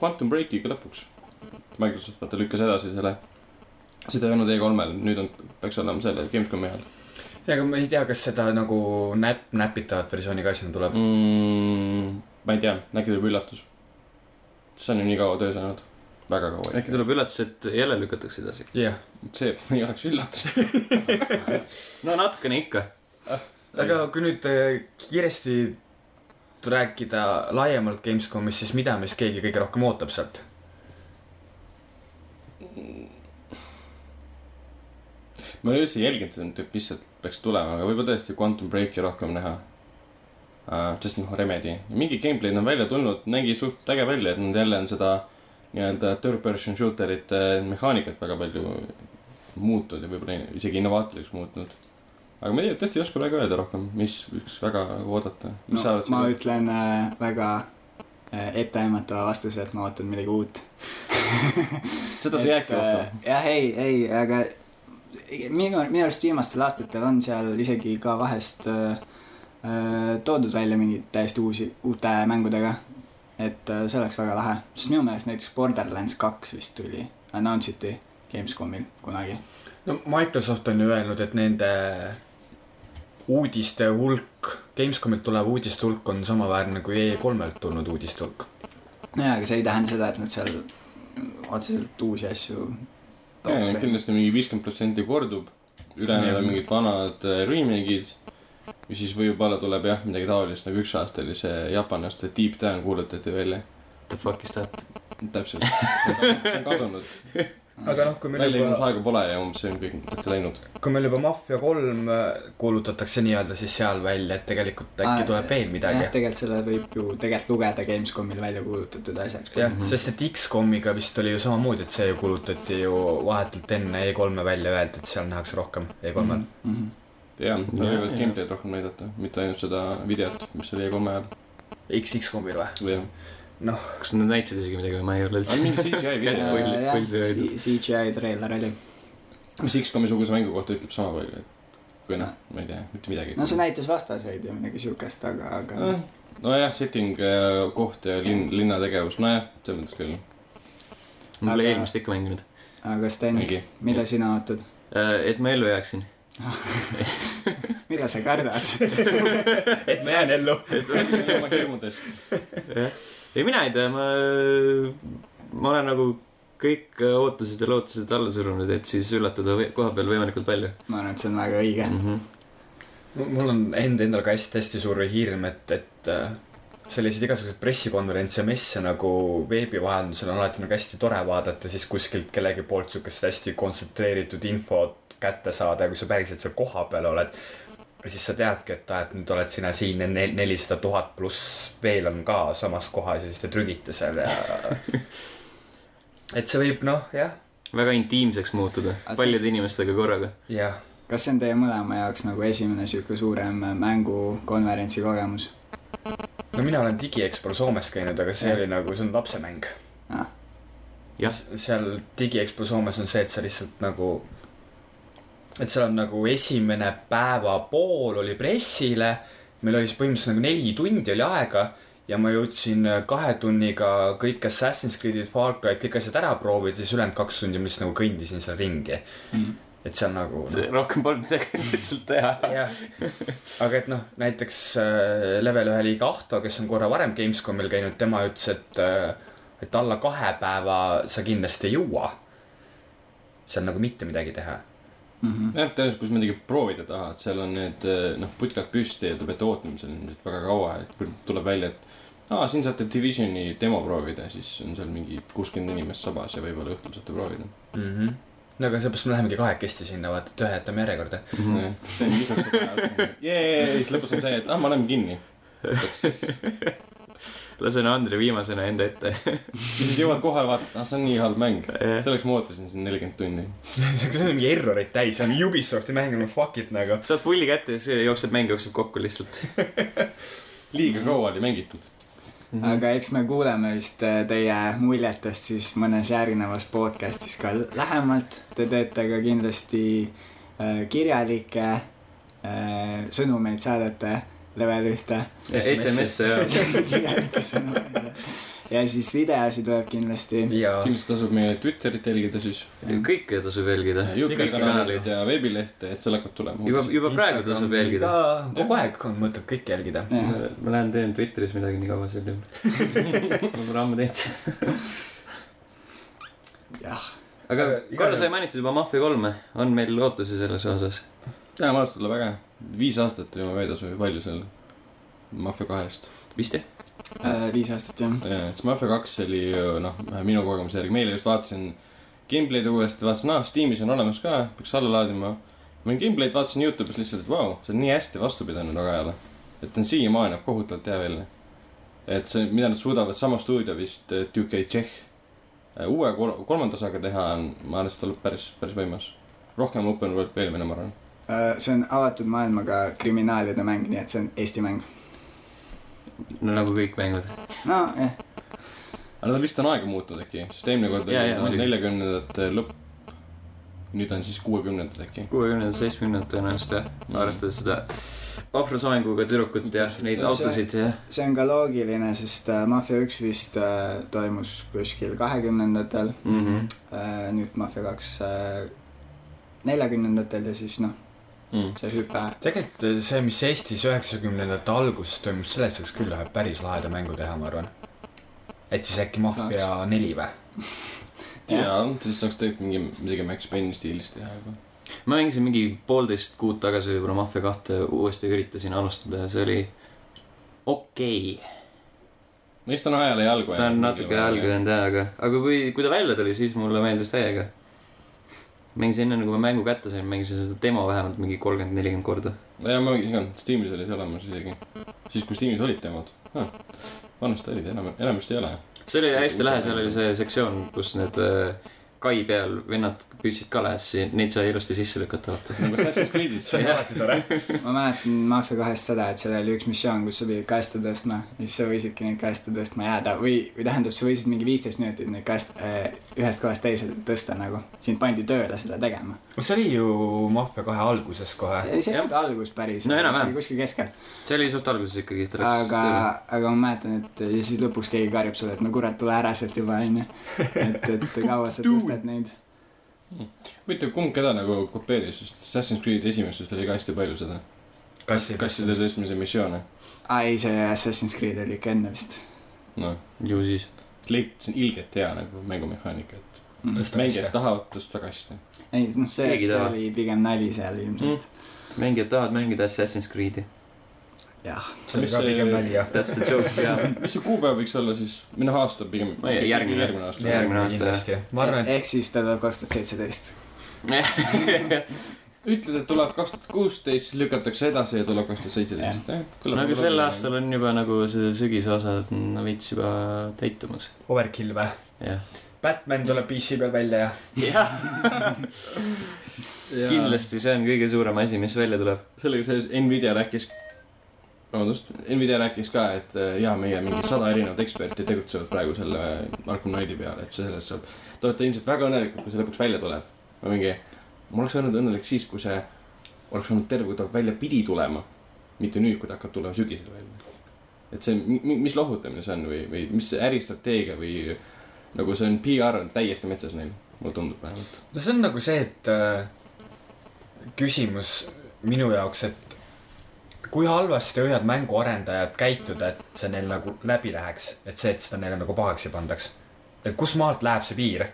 B: Quantum Breaki ka lõpuks . Microsoft vaata lükkas edasi selle . seda ei olnud E3-l , nüüd on , peaks olema selle Gamescomi ajal
C: ja aga ma ei tea , kas seda nagu näpp , näpitavat versiooni ka sinna tuleb .
B: mm, . ma ei tea , äkki tuleb üllatus . see on ju nii kaua töös olnud . väga kaua .
A: äkki tuleb üllatus , et jälle lükatakse edasi .
C: jah ,
B: see (laughs) ei oleks üllatus .
A: no natukene ikka .
C: aga kui nüüd äh, kiiresti rääkida laiemalt Gamescomist , siis mida meist keegi kõige rohkem ootab sealt ?
B: ma ei ole üldse jälginud seda nüüd , mis sealt peaks tulema , aga võib-olla tõesti Quantum Breaki rohkem näha uh, . sest noh , Remedi , mingi gameplay'd on välja tulnud , nägi suht äge välja , et nad jälle on seda nii-öelda third person shooter'ite mehaanikat väga palju muutnud ja võib-olla isegi innovaatiliseks muutnud . aga ma ei tea , tõesti ei oska praegu öelda rohkem , mis võiks väga oodata . mis no, sa
D: no,
B: arvad
D: ma ? ütlen äh, väga äh, etteaimatava vastuse , et ma ootan midagi uut .
B: (laughs) seda sa jäädki ootama .
D: jah , ei , ei , aga minu , minu arust viimastel aastatel on seal isegi ka vahest äh, äh, toodud välja mingeid täiesti uusi , uute mängudega . et äh, see oleks väga lahe , sest minu meelest näiteks Borderlands kaks vist tuli , announce iti Gamescomil kunagi .
C: no Microsoft on ju öelnud , et nende uudiste hulk , Gamescomilt tulev uudiste hulk on samaväärne kui E3-lt tulnud uudiste hulk .
D: nojah , aga see ei tähenda seda , et nad seal otseselt uusi asju tooks välja .
B: kindlasti mingi viiskümmend protsenti kordub , ülejäänud
C: Jah.
B: on mingid vanad äh, remake'id . ja siis võib-olla tuleb jah , midagi taolist , nagu üks aasta oli see Jaapani aasta Deep Down kuulutati välja .
A: The fuck is that ?
B: täpselt , see (laughs) on kadunud ,
C: aga noh , kui
B: väljailmumisaega pole ja umbes see on kõik ette läinud .
C: kui meil juba Mafia kolm äh, kuulutatakse nii-öelda siis seal välja , et tegelikult äkki
D: Aa,
C: tuleb veel
D: Ah, jah ,
C: midagi .
D: tegelikult selle võib ju tegelikult lugeda Gamescomil välja kuulutatud asjaks .
C: jah
A: Mhm. ,
C: sest et X-komiga vist oli ju samamoodi , et see ju kuulutati ju vahetult enne E3-e välja , öeldi , et seal nähakse rohkem E E3-l .
D: mm . -hmm.
B: jah , nad
A: Jah,
B: võivad
A: jah.
B: gameplay'd rohkem näidata , mitte ainult seda videot , mis oli E3-e ajal
C: X-X-komil või ?
B: või jah .
A: kas nad näitasid isegi midagi või ma ei ole
B: aga
A: üldse .
B: mingi CGI
A: Jah.
D: Äh,
B: (laughs) video ,
A: pull- pull see hoidnud.
D: CGI treiler oli ,
B: mis X-komi suguse mängu kohta ütleb sama palju , et kui noh , ma ei tea , mitte midagi .
D: no see näitas vastaseid ja midagi siukest , aga , aga
B: Eh, nojah , setting , koht ja linn , linnategevus , nojah , selles mõttes küll ,
A: (laughs) ma pole
D: Aga-
A: eelmist ikka mänginud .
D: aga Sten ,
B: mingi .
D: mida sina ootad ? (laughs)
A: et ma ellu jääksin .
D: mida sa kardad ?
C: et ma jään ellu .
B: oma hirmudest .
A: jah , ei mina ei tea , ma , ma olen nagu kõik ootused ja lootused alla surunud , et siis üllatada või- koha peal võimalikult palju
D: ma arvan , et see on väga õige .
A: mm . -hmm.
C: mul on enda endal ka hästi-hästi suur hirm , et , et äh, selliseid igasuguseid pressikonverentse ja messe nagu veebi vahendusel on alati nagu hästi tore vaadata , siis kuskilt kellegi poolt siukest hästi kontsentreeritud infot kätte saada , kui sa päriselt seal kohapeal oled . ja siis sa teadki , et aa , et nüüd oled sina siin ja nelisada tuhat pluss veel on ka samas kohas ja siis te trügite seal ja . et see võib noh , jah ,
A: väga intiimseks muutuda
D: Aga see-
A: paljude inimestega korraga .
C: jah .
D: kas see on teie mõlema jaoks nagu esimene sihuke suurem mängukonverentsi kogemus ?
C: no mina olen digiekspol Soomes käinud , aga see
D: Jah.
C: oli nagu , see on lapsemäng .
A: Jah.
C: seal digiexpo Soomes on see , et sa lihtsalt nagu , et seal on nagu esimene päevapool oli pressile , meil oli siis põhimõtteliselt nagu neli tundi oli aega ja ma jõudsin äh, kahe tunniga kõik Assassin's Creed'id , Far Cry'd , kõik asjad ära proovida , siis ülejäänud kaks tundi ma lihtsalt nagu kõndisin seal ringi , et seal nagu no, .
A: rohkem polnud midagi lihtsalt teha .
C: jah , aga et noh , näiteks äh, level ühe liiga Ahto , kes on korra varem Gamescomil käinud , tema ütles , et äh, , et alla kahe päeva sa kindlasti ei jõua . seal nagu mitte midagi teha .
D: mm .
B: jah , tõenäoliselt , kui sa midagi proovida tahad , seal on need eh, noh , putkad püsti ja te peate ootama seal ilmselt väga kaua , et kui tuleb välja , et aa , siin saate Divisioni demo proovida , siis on seal mingi kuuskümmend inimest sabas ja võib-olla õhtul saate proovida
C: mm .
A: Mhm.
C: -hmm. no aga seepärast me lähemegi kahekesti sinna , vaata , et ühe jätame
A: (laughs)
C: järjekorda .
A: Mhm.
B: Jah, Mhm. siis teen lisaks seda ära, siis on- jee , siis lõpus on see , et ah , me oleme kinni . ja
A: lasen Andri viimasena enda ette .
B: siis jõuad kohale , vaatad , ah , see on nii halb mäng .
A: sa
B: selleks ma ootasin siin nelikümmend tundi .
C: see on mingi erroreid täis , see on Ubisofti mäng , no fuck it nagu .
A: saad pulli kätte ja siis jookseb mäng jookseb kokku lihtsalt .
B: liiga kaua oli mängitud .
A: Mhm.
D: -hmm. aga eks me kuuleme vist äh, teie muljetest siis mõnes järgnevas podcastis ka lähemalt . Te teete ka kindlasti äh, kirjalikke äh, sõnumeid , saadate level ühte . (laughs)
A: SMS-e ja
D: kirjalikke sõnumeid . ja siis videosi tuleb kindlasti .
C: ja
B: kindlasti tasub meie Twitterit jälgida siis .
A: kõike tasub jälgida .
B: Youtube'i
C: Igast
B: kanalit
A: kanalit.
B: ja veebilehte , et see hakkab
A: juba ,
B: tulema .
A: juba praegu tasub jälgida ..
C: kogu aeg on mõtet kõike jälgida .
A: ma lähen teen Twitteris midagi nii kaua sel juhul . seda pole ammu teinud .
D: jah ,
A: aga
C: Aga igal
A: korra
C: juhul-
A: sai mainitud juba Mafia kolme , on meil lootusi selles osas ?
B: jaa , ma arvan , et see tuleb väga hea . viis aastat oli juba möödas või palju seal Mafia kahest .
A: vist jah ?
D: äh, viis aastat jah .
B: jaa , siis Mafia kaks oli ju, noh , minu kogemuse järgi , meile just vaatasin gameplay'd uuesti , vaatasin , aa , Steamis on olemas ka , peaks alla laadima . ma olin gameplay'd , vaatasin Youtube'is lihtsalt , et vau , see on nii hästi vastu pidanud väga ajale . et ta on siiamaani näeb kohutavalt hea välja . et see , mida nad suudavad , sama stuudio vist , Duke Tšehh , uue kol- kolmanda osaga teha on , ma arvan , et see tuleb päris , päris võimas . rohkem open world kui eelmine , ma arvan .
D: Äh, see on avatud maailmaga kriminaalide mäng , nii et see on Eesti mäng .
A: no nagu kõik mängud .
D: nojah ,
B: aga nad vist on aega muutnud äkki , sest eelmine kord
A: Jaa, jaa,
B: oli
A: muidugi.
B: neljakümnendate lõpp . nüüd on siis kuuekümnendad äkki .
A: kuuekümnendad , seitsmekümnendad tõenäoliselt jah , arvestades seda ohvrusoenguga tüdrukut ja neid
D: No see-
A: autosid ja
D: see on ka loogiline , sest äh, Mafia üks vist äh, toimus kuskil kahekümnendatel
A: mm . -hmm.
D: Äh, nüüd Mafia kaks neljakümnendatel ja siis noh ,
B: Mm.
D: see hüpe .
C: tegelikult eh, see , mis Eestis üheksakümnendate alguses toimus , selleks saaks küll ühe päris laheda mängu teha , ma arvan . et siis äkki Mafia neli või ?
B: jaa , siis saaks tegelikult mingi , midagi Max Payne'i stiilis teha juba .
A: ma mängisin mingi poolteist kuud tagasi võib-olla Mafia kahte uuesti üritasin alustada ja see oli okei okay. .
B: no eks ta on ajale jalgu
A: ta on natuke jalgu . jäänud jah , aga , aga kui , kui ta välja tuli , siis mulle meeldis täiega . mängisin enne , kui ma mängu kätte sain , mängisin seda demo vähemalt mingi kolmkümmend , nelikümmend korda .
B: jaa , ma mängin ka , Steamis oli see olemas isegi . siis , kui Steamis olid demod . vanasti olid , enam , enam vist ei ole .
A: see oli hästi lahe , seal oli see sektsioon , kus need äh, kai peal vennad püüdsid kalesse , neid sai ilusti sisse lükata , vaata .
B: nagu Assassin's
A: (laughs)
B: Creed'is .
C: see on alati tore .
D: ma mäletan Mafia kahest seda , et seal oli üks missioon , kus sa pidid kaste tõstma ja siis sa võisidki neid kaste tõstma jääda või , või tähendab , sa võisid mingi viisteist minutit neid kaste äh, ühest kohast teise tõsta nagu . sind pandi tööle seda tegema .
C: see oli ju Mafia kahe alguses kohe .
D: ei , see ei olnud algus päris
A: Ah, No enam-vähem.
D: kuskil keskel .
A: see oli suht alguses ikkagi .
D: aga , aga ma mäletan , et ja siis lõpuks keegi karjub sulle , et no kurat , tule ära sealt juba , onju . et , et kaua sa tõstad neid .
B: huvitav , kumb keda nagu kopeeris , sest Assassin's Creed esimeses oli ka hästi palju seda . kasside tõstmise missioone .
D: aa , ei , see Assassin's Creed oli ikka enne vist
B: noh ,
A: ju siis .
B: leiti , see on ilgelt hea nagu mängumehaanika , et
D: mm. .
B: mängijad tahavad tõsta kaste .
D: ei , noh , see ,
A: Keegi ei
D: see
A: taha.
D: oli pigem nali seal ilmselt mm. .
A: mängijad tahavad mängida Assassin's Creed'i .
D: jah ,
C: see oli
B: Mis
C: ka
B: see-
C: pigem nali jah .
A: That's the joke , jaa .
B: mis see kuupäev võiks olla siis , või noh , aasta pigem .
A: Ma ei- järgmine.
B: järgmine aasta .
A: järgmine aasta,
C: jah . ma arvan , et
D: ehk siis ta tuleb kaks tuhat seitseteist .
B: ütled , et tuleb kaks tuhat kuusteist , lükatakse edasi ja tuleb kaks tuhat seitseteist .
A: no aga sel aastal on juba nagu see sügise osa no, veits juba täitumas .
C: overkill või ?
A: jah .
C: Batman tuleb PC peal välja ja .
A: jah , kindlasti see on kõige suurem asi , mis välja tuleb .
B: sellega seoses Nvidia rääkis , vabandust , Nvidia rääkis ka , et äh, jaa , meie mingi sada erinevat eksperti tegutsevad praegu selle Arkham Knighti peale , et see sellest saab , te olete ilmselt väga õnnelikud , kui see lõpuks välja tuleb . ma mingi , ma oleks olnud õnnelik siis , kui see oleks olnud terve , kui ta välja pidi tulema , mitte nüüd , kui ta hakkab tulema sügisel välja . et see , mis lohutamine see on või , või mis see äristrateegia või nagu see on , PR on täiesti metsas neil , mulle tundub vähemalt .
C: no see on nagu see , et äh, küsimus minu jaoks , et kui halvasti võivad mänguarendajad käituda , et see neil nagu läbi läheks , et see , et seda neile nagu pahaks ei pandaks . et kus maalt läheb see piir ?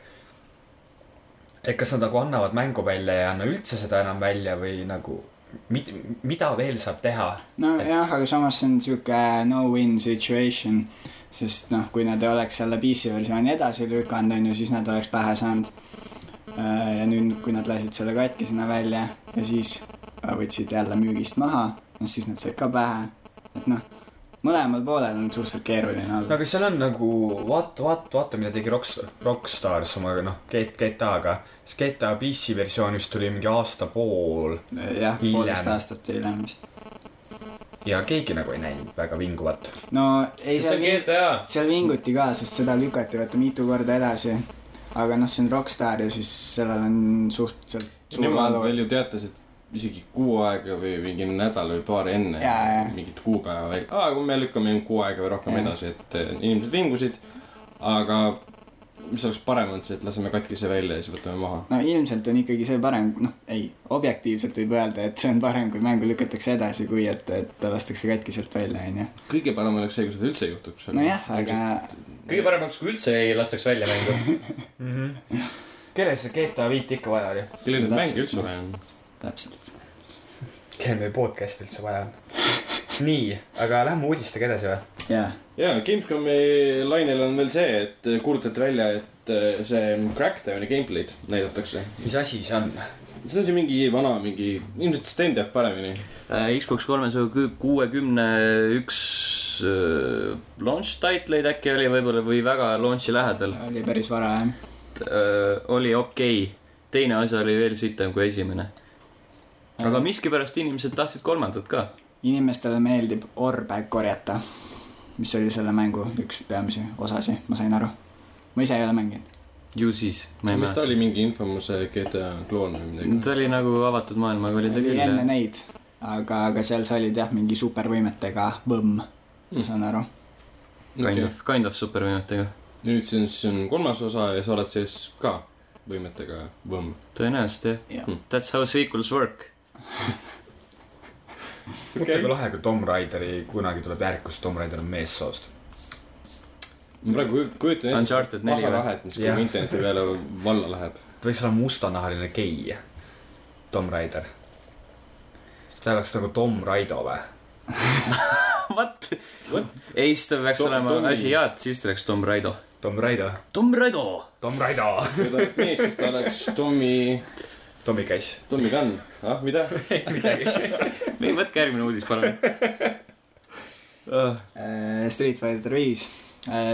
C: et kas nad nagu annavad mängu välja ja ei anna üldse seda enam välja või nagu mid, mida veel saab teha ?
D: nojah , aga samas see on sihuke no-win situation , sest noh , kui nad ei oleks selle PC versiooni edasi lükanud , on ju , siis nad oleks pähe saanud . ja nüüd , kui nad lasid selle katkisena välja ja siis äh, võtsid jälle müügist maha , no siis nad said ka pähe , et noh , mõlemal poolel on suhteliselt keeruline
C: no
D: olla .
C: aga seal on nagu vaata , vaata , vaata , mida tegi Rocks- , Rockstars oma noh , GTA-ga , siis GTA PC versioon vist tuli mingi aasta pool
D: jah , poolteist
C: hiljem.
D: aastat hiljem vist .
C: ja keegi nagu ei näinud väga vinguvat .
D: no ei ,
B: sest see
D: seal
B: on
D: ving-
B: GTA .
D: seal vinguti ka , sest seda lükati vaata mitu korda edasi . aga noh , see on Rockstar ja siis sellel on suhteliselt suur
B: Nemad
D: valu .
B: veel ju teatasid isegi kuu aega või mingi nädal või paar enne
D: Jaa, jaa.
B: mingit kuupäeva veel , aa , kui me lükkame kuu aega või rohkem
D: Jaa.
B: edasi , et eh, inimesed vingusid , aga mis oleks parem olnud see , et laseme katkise välja ja siis võtame maha .
D: no ilmselt on ikkagi see parem , noh ei , objektiivselt võib öelda , et see on parem , kui mängu lükatakse edasi , kui et , et ta lastakse katkiselt välja , onju .
B: kõige parem oleks see , kui seda üldse ei juhtuks .
D: nojah , aga .
E: kõige parem oleks , kui üldse ei lastaks välja mängu .
C: Mhm. kellel seda GTA viit ikka vaja oli ?
B: kellel neid mänge
D: Täpselt.
B: üldse vaja on ?
D: täpselt .
C: kellel meil podcast'i üldse vaja on ? nii , aga lähme uudistega edasi või ?
D: jaa ,
B: jaa , Gamescomi lainel on veel see , et äh, kuulutati välja , et eh, see Cracktowni gameplay'd näidatakse .
C: mis asi see on ?
B: see on see mingi vana , mingi , ilmselt Sten teab paremini .
A: Äh, Xbox kolmesaja kü- kuuekümne üks äh, launch titleid äkki oli võib-olla või väga launch'i lähedal
D: oli päris vara jah .
A: äh, oli okei okay. . teine osa oli veel sitem kui esimene . aga miskipärast inimesed tahtsid kolmandat ka .
D: inimestele meeldib orbe korjata , mis oli selle mängu üks peamisi osasi , ma sain aru . ma ise ei ole mänginud .
A: ju siis , ma ei
B: mis ta
A: mäleta .
B: oli , mingi infomuse GTA kloon või midagi ?
A: ta oli nagu avatud maailmaga oli ta küll jah
D: enne . neid , aga , aga seal sa olid jah , mingi supervõimetega võmm ,
A: Mm.
D: ma saan aru .
A: Kind of , kind of supervõimetega .
B: nüüd siis on , siis on kolmas osa ja sa oled siis ka võimetega võmm .
A: tõenäoliselt jah
D: Jah.
A: yeah. . That's how sequels work .
C: mõtle kui lahe , kui Tom Raideri kunagi tuleb järg , kus Tom Raider on meessoost .
B: ma praegu kuj- kujutan
A: Uncharted neli või?
B: vasarahet , mis
C: Jah.
B: kogu interneti peale valla läheb .
C: ta võiks olla mustanahaline gei , Tom Raider . siis ta oleks nagu Tom Raido või ?
A: What
B: What? ?
A: ei , siis ta peaks
B: Tom-
A: Tom, olema
B: Tommy.
A: asiaat , siis ta oleks Tom Raido .
C: Tom Raido ,
A: Tom Raido .
C: Tom Raido , (laughs)
B: kui ta oleks mees , siis ta oleks Tommy ,
C: Tommy (laughs) Cash .
B: Tommy Gunn . ah ,
A: (laughs)
B: mida ?
A: ei , võtke järgmine uudis , palun .
D: Äh, Street Fighter viis ,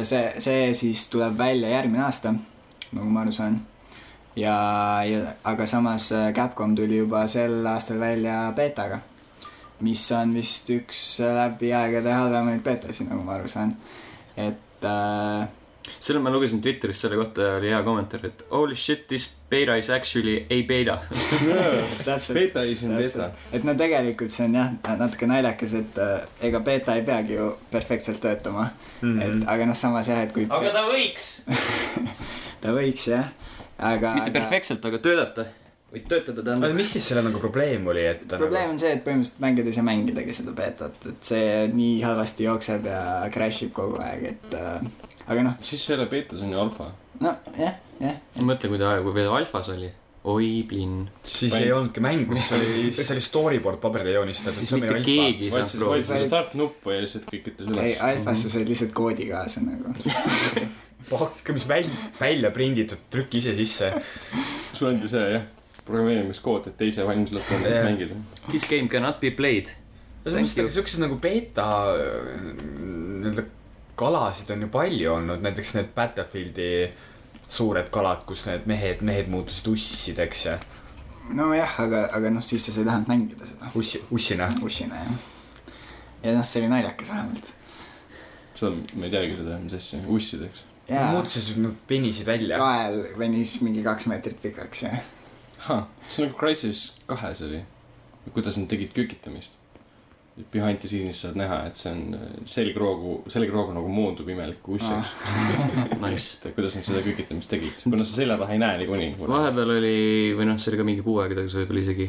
D: see , see siis tuleb välja järgmine aasta , nagu ma aru saan . ja , ja aga samas äh, Capcom tuli juba sel aastal välja beetaga , mis on vist üks äh, läbi aegade halvemaid beetasid , nagu ma aru saan . et äh,
A: selle ma lugesin Twitterist , selle kohta oli hea kommentaar , et holy shit , this beta is actually a beta .
D: täpselt ,
B: Beta is in beta .
D: et no tegelikult see on jah , natuke naljakas , et äh, ega beeta ei peagi ju perfektselt töötama
C: Mhm.
D: mm , -hmm. et aga noh , samas jah , et kui
E: aga ta võiks .
D: ta võiks jah , aga
A: mitte
D: aga-
A: perfektselt , aga töötada . võid töötada
C: aga
A: tähendab .
C: mis siis selle nagu probleem oli , et ta nagu-
D: probleem on see , et põhimõtteliselt mängijad ei saa mängidagi seda beetot , et see nii halvasti jookseb ja crash ib kogu aeg , et äh, aga noh ,
B: siis see ei ole beta , see on ju alfa .
D: nojah , jah ,
A: mõtle , kui ta aegu veel alfas oli . oi , plinn .
C: nagu , siis ei olnudki mängu , siis
A: (laughs)
C: oli , siis oli storyboard paberile joonistatud .
A: siis mitte keegi ei saanud
B: vajutasid
A: proovida .
B: vajutasid start-nuppu ja lihtsalt kõik ütles
D: ei
B: üles .
D: alfasse said lihtsalt koodi kaasa nagu .
C: pakk , mis välja , välja prinditud , trüki ise sisse .
B: sul on ju see jah , programmeerimiskood , et teise valmis lõpuni
C: Jah.
B: mängida .
A: This game cannot be played .
C: selles mõttes , et ega siukseid nagu beeta nii-öelda kalasid on ju palju olnud , näiteks need Battlefieldi suured kalad , kus need mehed , mehed muutusid ussideks ja
D: nojah , aga , aga noh , siis sa ei tahanud mängida seda
C: ussi , ussina .
D: ussina jah . ja noh , see oli naljakas vähemalt .
B: seda ma ei teagi seda , mis asja , ussideks .
D: jaa ,
C: muutusid , nad penisid välja .
D: kael venis mingi kaks meetrit pikaks ja
B: Ahah, see on nagu Crisis kahes oli , kuidas nad tegid kükitamist . Behind the scenes saad näha , et see on selgroogu , selgroogu nagu moondub imeliku ussiks .
A: Ah, Nice .
B: et kuidas nad seda kükitamist tegid , kuna sa selja taha ei näe niikuinii .
A: vahepeal oli , või noh , see oli ka mingi kuu aega tagasi võib-olla isegi ,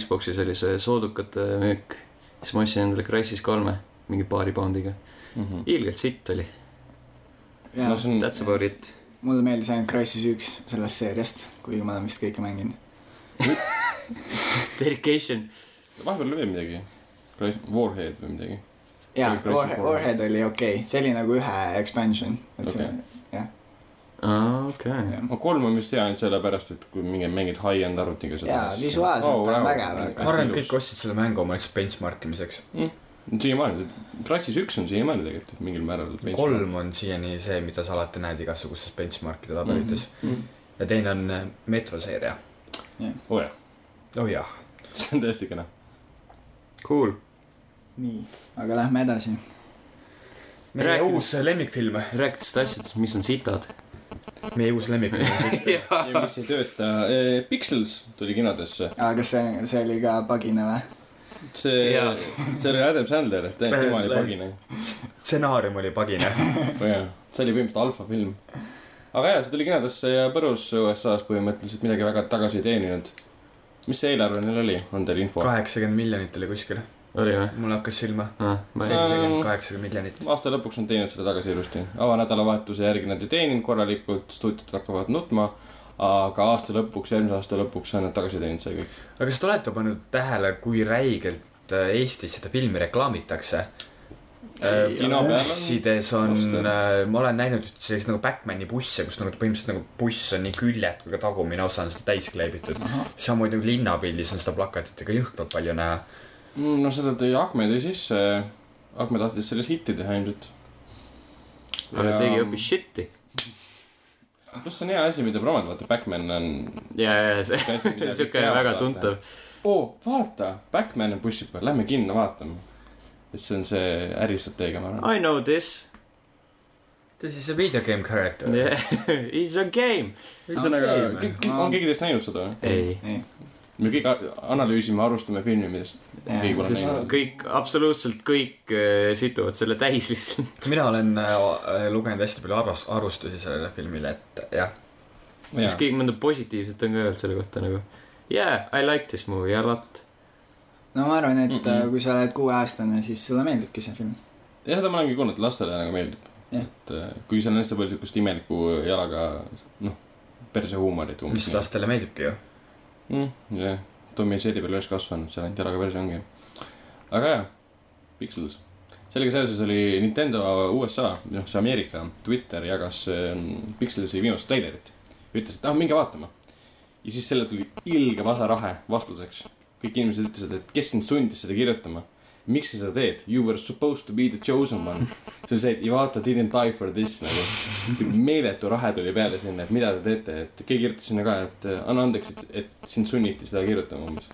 A: Xbox'is oli see soodukate müük , siis ma ostsin endale Crysis kolme mingi paari poundiga .
B: mm . -hmm.
A: ilgelt sitt oli ,
D: ja
B: no see on ,
A: that's about it .
D: mulle meeldis ainult Crysis üks sellest seeriast , kuigi ma olen vist kõike mänginud .
A: (laughs) Dedication .
B: vahepeal oli veel midagi . Warhead või midagi .
D: jaa
B: Crysis ,
D: Warhead ,
B: kolm.
D: Warhead oli okei okay. , see oli nagu ühe expansion , et okay.
A: aa , okei .
D: see
B: ma kolm on vist hea ainult sellepärast , et kui mingi mängid high-end arvutiga seda .
D: jaa , visuaalselt
B: Oh,
D: oh, on
B: wow.
D: vägev ,
B: Ma
C: ma
D: aga
C: arvan , et
B: ilus.
C: kõik ostsid selle mängu oma lihtsalt benchmark imiseks .
B: siiamaani , Crysis üks on siiamaani tegelikult mingil määral .
C: kolm on siiani see , mida sa alati näed igasugustes benchmarkide tabelites mm . -hmm. ja teine on metroseeria .
B: oo jah ,
C: oh jah ,
B: (laughs) see on täiesti kena .
A: Cool .
D: nii , aga lähme edasi .
C: meie
A: Rääkides-
C: uus lemmikfilm ,
A: rääkides asjadest , mis on (laughs) sitad .
C: meie uus
B: (laughs)
C: lemmikfilm on see .
B: ja mis ei tööta , Pixels tuli kinodesse .
D: aga kas see , see oli ka pagina või ?
B: see
A: Jaa. ,
B: see oli Adam Sandler , tema oli pagina .
C: stsenaarium oli pagina .
B: jah , see oli põhimõtteliselt alfafilm . aga jaa , see tuli kinodesse ja põrus USA-s põhimõtteliselt midagi väga tagasi ei teeninud . mis see eelarve neil oli , on teil info ?
C: kaheksakümmend miljonit oli kuskil ,
A: oli või ?
C: mul hakkas silma .
A: ma ei
B: Sa-
C: seitsekümmend , kaheksakümmend miljonit .
B: aasta lõpuks on teinud selle tagasi ilusti , avanädalavahetuse järgi nad ei teeninud korralikult , stuudiod hakkavad nutma , aga aasta lõpuks , eelmise aasta lõpuks on nad tagasi teeninud see kõik .
C: aga kas te olete pannud tähele , kui räigelt äh, Eestis seda filmi reklaamitakse ?
B: Ei ole.
C: bussides on äh,
B: Ostnud. ,
C: ma olen näinud selliseid nagu Batman'i busse , kus nagu põhimõtteliselt nagu buss on nii küljed kui ka tagumine osa on seda täis kleebitud . samamoodi nagu linnapildis on seda plakatit ikka jõhkralt palju näha .
B: Mm, no seda tõi Akme tõi sisse , Akme tahtis selles hitti teha ilmselt .
A: aga tegi hoopis . shit'i .
B: pluss see on hea asi , mida promoda , vaata Batman on ,
A: ja , ja (laughs) see ,
B: Käsi midagi
A: siuke
B: peale
A: väga
B: vaata.
A: tuntav .
B: oo , vaata , Batman on bussi peal , lähme kinno vaatame . et see on see äristrateegia , ma arvan .
A: I know this .
C: This is a video game character .
A: (laughs) It's a game .
B: ühesõnaga , on
D: Ah.
B: keegi teist näinud seda või ?
A: ei .
D: ei ,
B: me kõik a- analüüsime , arvustame filmi , millest
D: Jah,
B: keegi pole
A: sest
B: näinud .
A: kõik , absoluutselt kõik äh, situvad selle täis lihtsalt .
C: mina olen äh, lugenud hästi palju arvas- , arvustusi sellele filmile , et äh, jah ,
A: kas keegi mõnda positiivset on ka öelnud selle kohta nagu ? Yeah , I like this movie a lot .
D: no ma arvan , et
B: Mm-mm.
D: mm -mm. kui sa oled kuueaastane , siis sulle meeldibki see film .
B: ja seda ma olengi kuulnud , lastele nagu meeldib
D: Jah.
B: et äh, kui seal on hästi palju siukest imelikku jalaga noh , persehuumorit
C: mis lastele meeldibki ju .
B: mm, jah , Tommy ja Shelly peal üles kasvanud , seal ainult jalaga perse ongi aga jah , Pixels sellega seoses oli Nintendo USA , noh see Ameerika Twitter jagas äh, Pixelsi viimast treilerit ütles , et ah minge vaatama ja siis selle tuli ilge vasarahe vastuseks kõik inimesed ütlesid , et kes sind sundis seda kirjutama miks sa seda teed , you were supposed to be the chosen one . see on see , et you vaata didn't die for this nagu . meeletu rahe tuli peale sinna , et mida te teete , et keegi kirjutas sinna ka , et äh, anna andeks , et , et sind sunniti seda kirjutama umbes .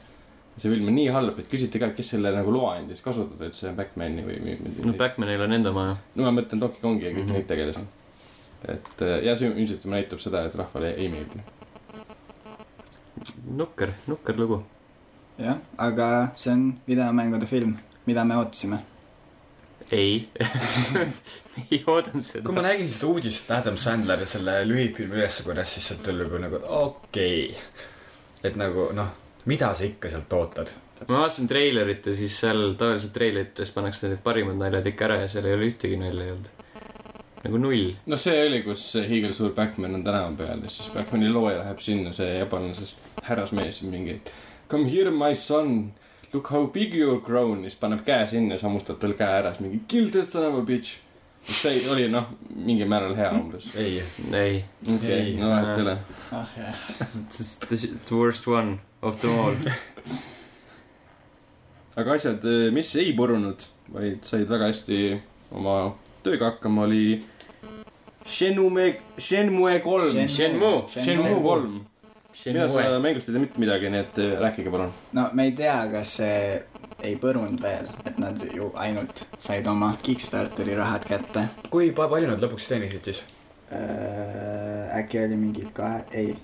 B: see film on nii halb , et küsiti ka , kes selle nagu loa andis kasutada , et see on Batman'i või , või
A: no
B: midagi .
A: Batmanil on enda maja .
B: no ma mõtlen Donkey Kongi ja kõiki
A: Mhm.
B: mm -hmm. neid tegelasi . et äh, ja see ilmselt näitab seda , et rahvale ei meeldi .
A: nukker , nukker lugu .
D: jah , aga see on videomängude film , mida me ootasime .
A: ei . (laughs) ei oodanud seda
C: kui . ma nägin seda uudist , et Adam Sandler selle lühifilmi üles korjas , siis sealt tuli juba nagu et okei okay. . et nagu noh , mida sa ikka sealt ootad .
A: ma vaatasin treilerit ja siis seal tavaliselt treilerites pannakse need parimad naljad ikka ära ja seal ei ole ühtegi nalja ei olnud . nagu null .
B: no see oli , kus see hiigelsuur Batman on tänava peal ja siis Batmani looja läheb sinna , see japanisest härrasmees mingi Come here my son , look how big you are grown ja siis paneb käe sinna ja sammustab tal käe ära , siis mingi kill this son of a bitch . see oli noh , mingil määral hea umbes .
C: ei ,
A: ei .
B: okei , no vahet ei ole .
D: ah jah .
A: The worst one of them
C: (laughs)
A: all .
B: aga asjad , mis ei purunud , vaid said väga hästi oma tööga hakkama , oli Shenmue , Shenmue kolm .
A: Shenmue.
B: Shenmue kolm . mina seda mängust ei tea mitte midagi , nii et eh, rääkige palun .
D: no me ei tea , kas see ei põrunud veel , et nad ju ainult said oma Kickstarteri rahad kätte .
C: kui pa- palju nad lõpuks teenisid siis ?
D: Äh, äkki oli mingi kahe , ei ,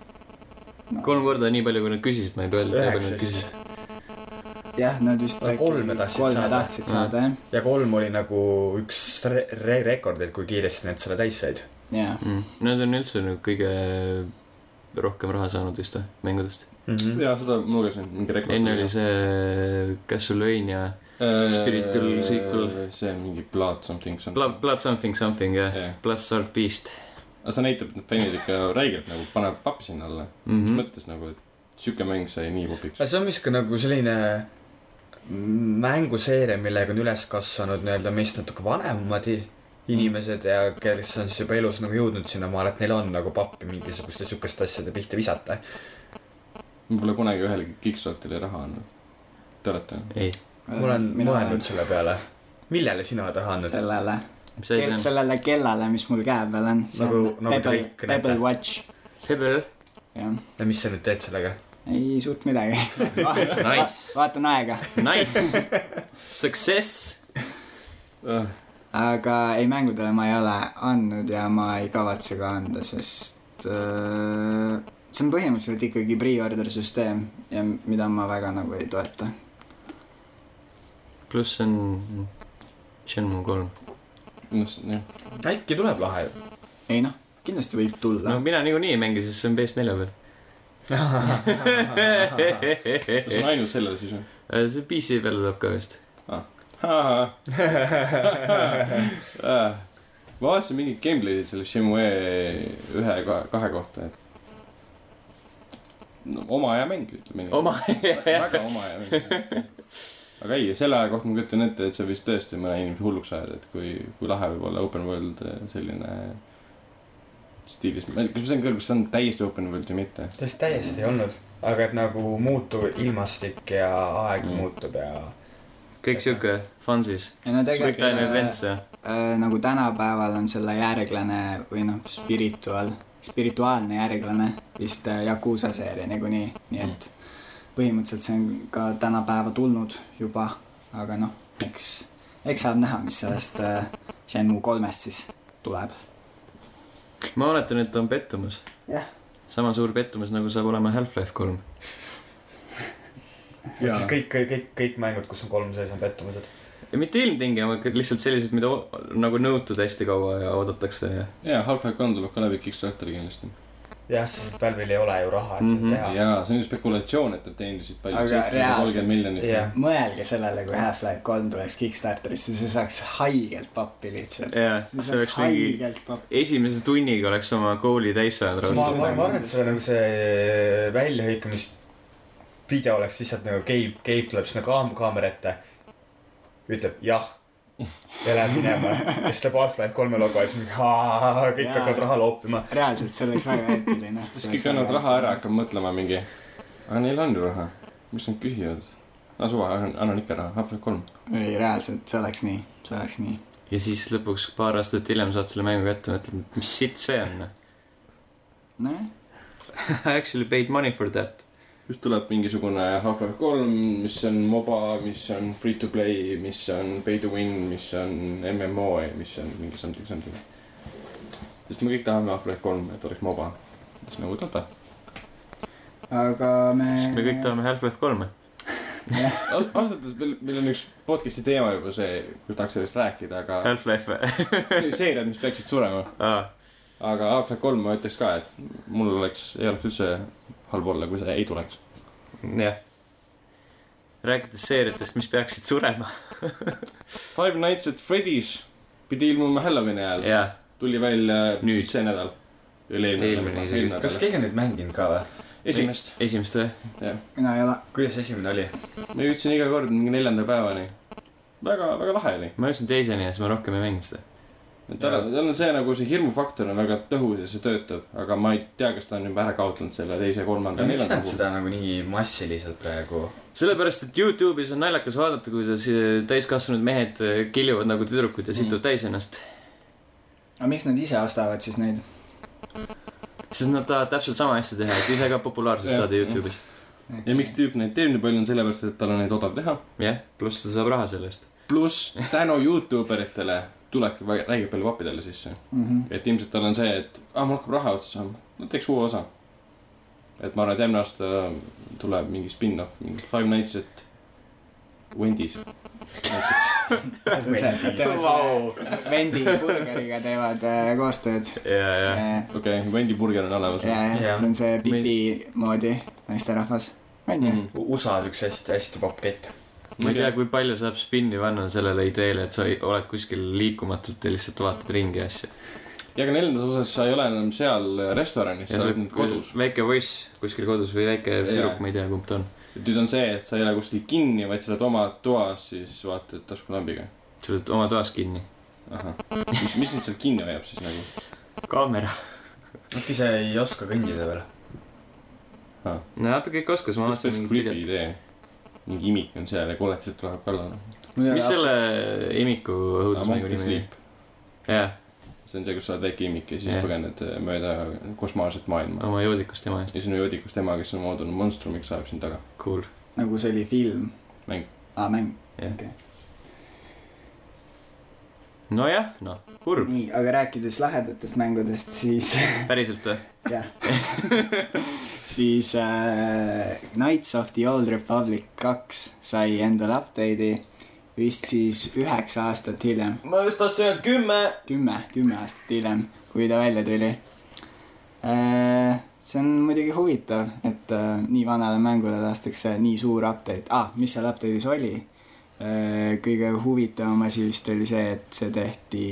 A: kolm korda nii palju , kui nad küsisid , ma ei tea , kui palju
C: Üheksa
A: nad küsisid .
D: jah , nad vist
C: No kolme tahtsid
D: kolme
C: saada.
D: tahtsid saada jah ,
C: ja kolm oli nagu üks re re rekordeid , kui kiiresti nad selle täis said .
D: jaa .
A: Nad on üldse nagu kõige rohkem raha saanud vist või , mängudest .
B: jaa , seda ma lugesin , mingi rekord .
A: Mhm. enne oli see äh, Castlevania , Spiritual sequel.
B: Äh, see mingi Blood something .
A: Blood , Blood something something jah ,
B: jah ,
A: Blood Sword Beast .
B: aga see näitab , et need fännid ikka räigelt nagu panevad pappi sinna alla mm . -hmm.
A: Mhm.
B: mis mõttes nagu , et sihuke mäng sai nii popiks .
C: aga see on vist ka nagu selline mänguseeria , millega on üles kasvanud nii-öelda meist natuke vanemad i- inimesed ja kes on siis juba elus nagu jõudnud sinnamaale , et neil on nagu pappi mingisuguste sihukeste asjade pihta visata .
B: ma pole kunagi ühelegi kick-startile raha andnud . Te olete ?
A: ei .
C: ma olen mõelnud selle peale . millele sina oled raha andnud ?
D: sellele ,
A: mis asi see on ?
D: sellele kellale , mis mul käe peal on .
C: Nagu- nagu
D: Pebble
C: kõik , näete.
D: Pebble Watch ,
A: Pebble .
D: jah .
C: ja mis sa nüüd teed sellega ?
D: ei suurt midagi Va .
A: (laughs) Nice.
D: vaatan aega ,
A: Nice . Success .
D: aga ei mängudele ma ei ole andnud ja ma ei kavatse ka anda , sest äh, see on põhimõtteliselt ikkagi pre-order süsteem ja mida ma väga nagu ei toeta .
A: pluss see on Shenmue kolm .
B: noh , jah .
C: äkki tuleb lahe ju .
D: ei noh , kindlasti võib tulla
A: no
D: no. .
A: mina niikuinii ei mängi , sest see on PS4
B: kas see
A: peal .
B: on ainult sellele siis või ?
A: see PC peale tuleb ka vist .
B: Äh. ma vaatasin mingit gameplay'd selle Shimue ühe , kahe kohta , et . no oma aja mäng , ütleme nii .
A: oma . (laughs)
B: väga oma aja mäng . aga ei , selle aja kohta ma kujutan ette , et see vist tõesti mõne inimese hulluks ajab , et kui , kui lahe võib olla open world eh, selline stiilis . kas ma sain küll , kas see on täiesti open world või mitte ?
C: täiesti , täiesti ei olnud . aga et nagu muutub ilmastik ja aeg
B: Mm.
C: mm. muutub ja .
A: kõik siuke fun siis .
D: ja no
A: Quick
D: tegelikult
A: time
D: äh,
A: events ja .
D: äh, nagu tänapäeval on selle järglane või noh , spirituaal , spirituaalne järglane vist äh, Yakuusa seeria niikuinii , nii et
A: Mm.
D: põhimõtteliselt see on ka tänapäeva tulnud juba , aga noh , eks , eks saab näha , mis sellest äh, Shenmue kolmest siis tuleb .
A: ma oletan , et on pettumus .
D: Jah.
A: sama suur pettumus , nagu saab olema Half-Life kolm .
C: siis kõik , kõik , kõik mängud , kus on kolm sees , on pettumused .
A: ja mitte ilmtingimata , lihtsalt sellised , mida o- nagu nõutud hästi kaua ja oodatakse ja .
B: jaa , Half-Life kolm tuleb ka läbi Kickstarteri kindlasti .
C: jah , sest Valve'il ei ole ju raha , et
A: Mhm.
C: seda teha .
B: jaa , see on ju spekulatsioon , et nad teenisid palju ,
D: Aga
B: seitsesada
D: reaalselt-
B: kolmkümmend miljonit .
C: jah ,
D: mõelge sellele , kui Half-Life kolm tuleks Kickstarterisse , see saaks haigelt pappi lihtsalt .
A: jaa , see oleks mingi ,
D: haigelt pappi .
A: esimese tunniga oleks oma kooli täis saanud
C: ma ,
A: raudselt .
C: ma , ma arvan , et see nagu see väljahõikamispidja oleks lihtsalt nagu Gabe , Gabe tuleb sinna kaam- , kaamera ette , ütleb jah ja läheb minema ja siis tuleb Half-Life kolme logo ja siis mingi haa , kõik
D: Jaa.
C: hakkavad raha loopima .
D: reaalselt , see oleks väga eetiline .
B: siis kõik annavad raha ära , hakkab mõtlema mingi , aga neil on ju raha , mis nad küsivad . no suva , annan ikka raha , Half-Life kolm .
D: ei , reaalselt , see oleks nii , see oleks nii .
A: ja siis lõpuks paar aastat hiljem saad selle mängu kätte , mõtled , mis sitt see on . noh.
D: nojah ,
A: (laughs) I actually paid money for that .
B: siis tuleb mingisugune Half-Life kolm , mis on moba , mis on free to play , mis on pay to win , mis on MMO ja mis on mingi something something . sest me kõik tahame Half-Life kolme , et oleks moba , mis nagu Dota .
D: aga me .
A: sest me kõik . tahame Half-Life kolme .
B: ausalt öeldes meil , meil on üks podcast'i teema juba see , kus tahaks sellest rääkida ,
A: (laughs)
B: aga
A: Half-Life
B: seeriad , mis peaksid surema .
A: ah, .
B: aga Half-Life kolm ma ütleks ka , et mul oleks , ei oleks üldse halb olla , kui see ei tuleks .
A: jah . rääkides seeriatest , mis peaksid surema .
B: Five Nights at Freddy's pidi ilmuma Halloweeni ajal ,
A: jaa ,
B: tuli välja
A: Nüüd.
B: see nädal .
A: Eelmine isegi vist.
C: kas keegi on nüüd mänginud ka või ?
B: esimest ,
A: esimest või ?
D: mina ei ole .
C: kuidas esimene oli ?
B: ma jõudsin iga kord mingi neljanda päevani . väga , väga lahe oli .
A: ma jõudsin teiseni ja siis ma rohkem ei mänginud seda .
B: tal
C: Jaa.
B: on , tal on see nagu see hirmufaktor on väga tõhus ja see töötab , aga ma ei tea , kas ta on juba ära kaotanud selle teise , kolmanda ,
C: miks
B: neljanda
C: nad seda nagu nii massiliselt praegu ?
A: sellepärast , et Youtube'is on naljakas vaadata , kuidas eh, täiskasvanud mehed eh, kiljuvad nagu tüdrukud ja
B: Mm.
A: situvad täis ennast .
D: aga miks nad ise ostavad siis neid ?
A: sest nad tahavad täpselt sama asja teha , et ise ka populaarsust
B: Jah.
A: saada Youtube'is .
B: ja miks tüüp neid teeb nii palju , on sellepärast , et tal on neid odav teha .
A: jah , pluss ta saab raha selle eest .
B: pluss tänu Youtube eritele tulebki väga- räigelt palju pappi talle sisse .
D: mm ? -hmm.
B: et ilmselt tal on see , et ah, mul hakkab raha otsa saama , no teeks uue osa . et ma arvan , et järgmine aasta tuleb mingi spin-off , mingi Five Nights at Wendy's näiteks .
A: Vau.
D: Vendi burgeriga teevad äh, koostööd .
A: ja , ja
D: ja ,
B: okei okay, , Wendy burger on olemas .
D: ja , ja
C: Jah.
D: see on see pipi moodi naisterahvas .
B: Mm,
D: on
B: Mhm.
D: ju ?
C: USA-s üks hästi , hästi popp kett .
A: ma ei tea , kui palju saab spinni panna sellele ideele , et sa oled kuskil liikumatult ja lihtsalt vaatad ringi ja asju .
B: ja ka neljandas osas sa ei ole enam seal restoranis ,
A: ja
B: sa
A: see
B: oled nüüd kodus .
A: väike poiss kuskil kodus või väike
B: Jaa.
A: tüdruk , ma ei tea , kumb ta on .
B: nüüd on see , et sa ei ole kuskil kinni , vaid sa oled oma toas siis vaata , et taskulambiga .
A: sa oled oma toas kinni .
B: ahah , mis , mis sind seal kinni hoiab siis nagu ?
A: kaamera .
C: Nad ise ei oska kõndida veel .
A: no natuke ikka oskas , ma
B: see
A: vaatasin
B: oleks creepy
A: videot .
B: idee . mingi imik on seal ja koletised tulevad kallale .
A: mis selle imiku õudusmängu
B: Among the
A: nimi oli ?
B: Sleep ,
A: jah ,
B: see on see , kus sa oled väike imik ja siis
A: Jah.
B: põgened eh, mööda kosmaarset maailma .
A: oma joodikust ema eest
B: ja . sinu joodikus tema , kes on moodunud monstrumiks , ajab sind taga .
A: Cool .
D: nagu see oli film .
B: Mäng. .
D: aa , mäng .
A: nojah , noh , kurb .
D: nii , aga rääkides lahedatest mängudest , siis
A: päriselt või ?
D: jah , (laughs) siis äh, Knights of the Old Republic kaks sai endale update'i vist siis üheksa aastat hiljem ,
A: ma just tahtsin öelda kümme .
D: kümme , kümme aastat hiljem , kui ta välja tuli äh, . see on muidugi huvitav , et äh, nii vanale mängule lastakse nii suur update ah, , mis seal update'is oli äh, ? kõige huvitavam asi vist oli see , et see tehti ,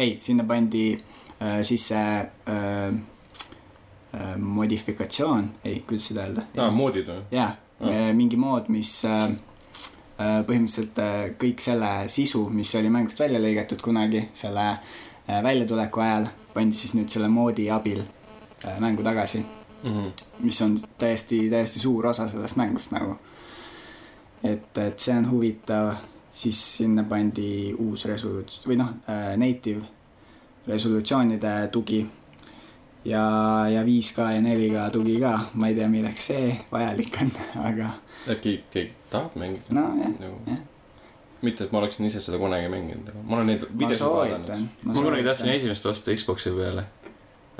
D: ei , sinna pandi äh, sisse äh, äh, modifikatsioon , ei , kuidas seda öelda ?
B: aa , moodid või ?
D: jaa
B: Ah. ,
D: mingi mood , mis äh, äh, põhimõtteliselt äh, kõik selle sisu , mis oli mängust välja lõigatud kunagi selle äh, väljatuleku ajal , pandi siis nüüd selle moodi abil äh, mängu tagasi ,
B: Mhm.
D: mis on täiesti , täiesti suur osa sellest mängust nagu . et , et see on huvitav , siis sinna pandi uus resoluts- või noh äh, , native resolutsioonide tugi ja , ja 5K ja 4K tugi ka , ma ei tea , milleks see vajalik on , (laughs) aga
B: äkki keegi tahab mängida ?
D: nojah ,
B: nagu
D: jah. ,
B: mitte , et ma oleksin ise seda kunagi mänginud , aga ma olen neid
D: ma
B: videosid vaadanud .
D: soovitan .
A: ma kunagi tahtsin esimest osta Xbox'i peale .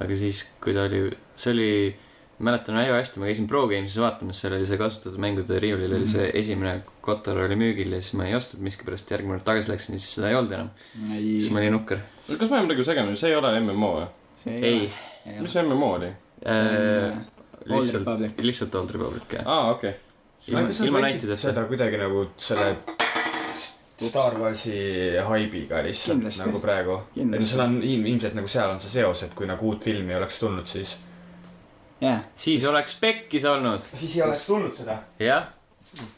A: aga siis , kui ta oli , see oli , mäletan väga hästi , ma käisin Pro Games'is vaatamas , seal oli see kasutatud mängude riiulil oli see esimene kotor oli müügil ja siis ma ei ostnud miskipärast , järgmine kord tagasi läksin ja siis seda ei olnud enam . siis ma
D: ei ,
A: olin nukker .
B: kas ma jään praegu segamini , see ei ole MMO või ?
D: see
A: ei ,
D: ei ole . äh,
B: mis see MMO oli ?
D: Old
A: lihtsalt ,
D: Republic ,
A: lihtsalt Old Republic jah .
B: aa , okei .
A: ilma , ilma näitideta .
C: seda kuidagi nagu selle Star Warsi haibiga lihtsalt
D: Kindlasti.
C: nagu praegu . et
D: kindlasti
C: seal . on ilm- ilmselt nagu seal on see seos , et kui nagu uut filmi ei oleks tulnud , siis .
D: jah ,
A: siis oleks pekkis olnud ,
C: siis ei oleks tulnud seda .
A: jah . (laughs)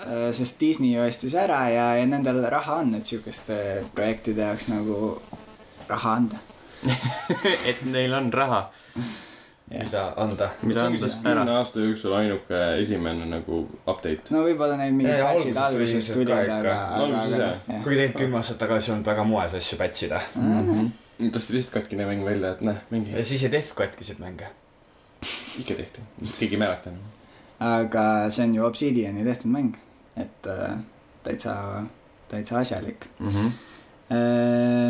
D: Äh, sest Disney ostis ära ja , ja nendel raha on , et siukeste projektide jaoks nagu raha anda .
A: et neil on raha ,
D: jah ,
C: mida anda .
B: see
A: mida anda
B: ongi siis
A: ära
B: kümne . aasta jooksul ainuke esimene nagu update .
D: no võib-olla
C: Ja,
D: neil mingid
C: ja
D: patch'id
C: alguses tuli
D: alguses
C: ilmselt
D: tulid ,
C: ka ikka.
D: aga , aga ,
B: Alguses
D: aga
B: jah.
D: jah.
C: kuigi tegelikult kümme aastat tagasi ei olnud väga moes asju patch ida .
D: Mhm.
B: tõstsid Mm-hmm. lihtsalt katkine mäng välja , et näe ,
C: ja
B: mingi
C: siis ei tehtud katkiseid mänge .
B: ikka tehti . keegi ei mäleta enam .
D: aga see on ju Obsidiani tehtud mäng , et äh, täitsa , täitsa asjalik .
A: Mhm.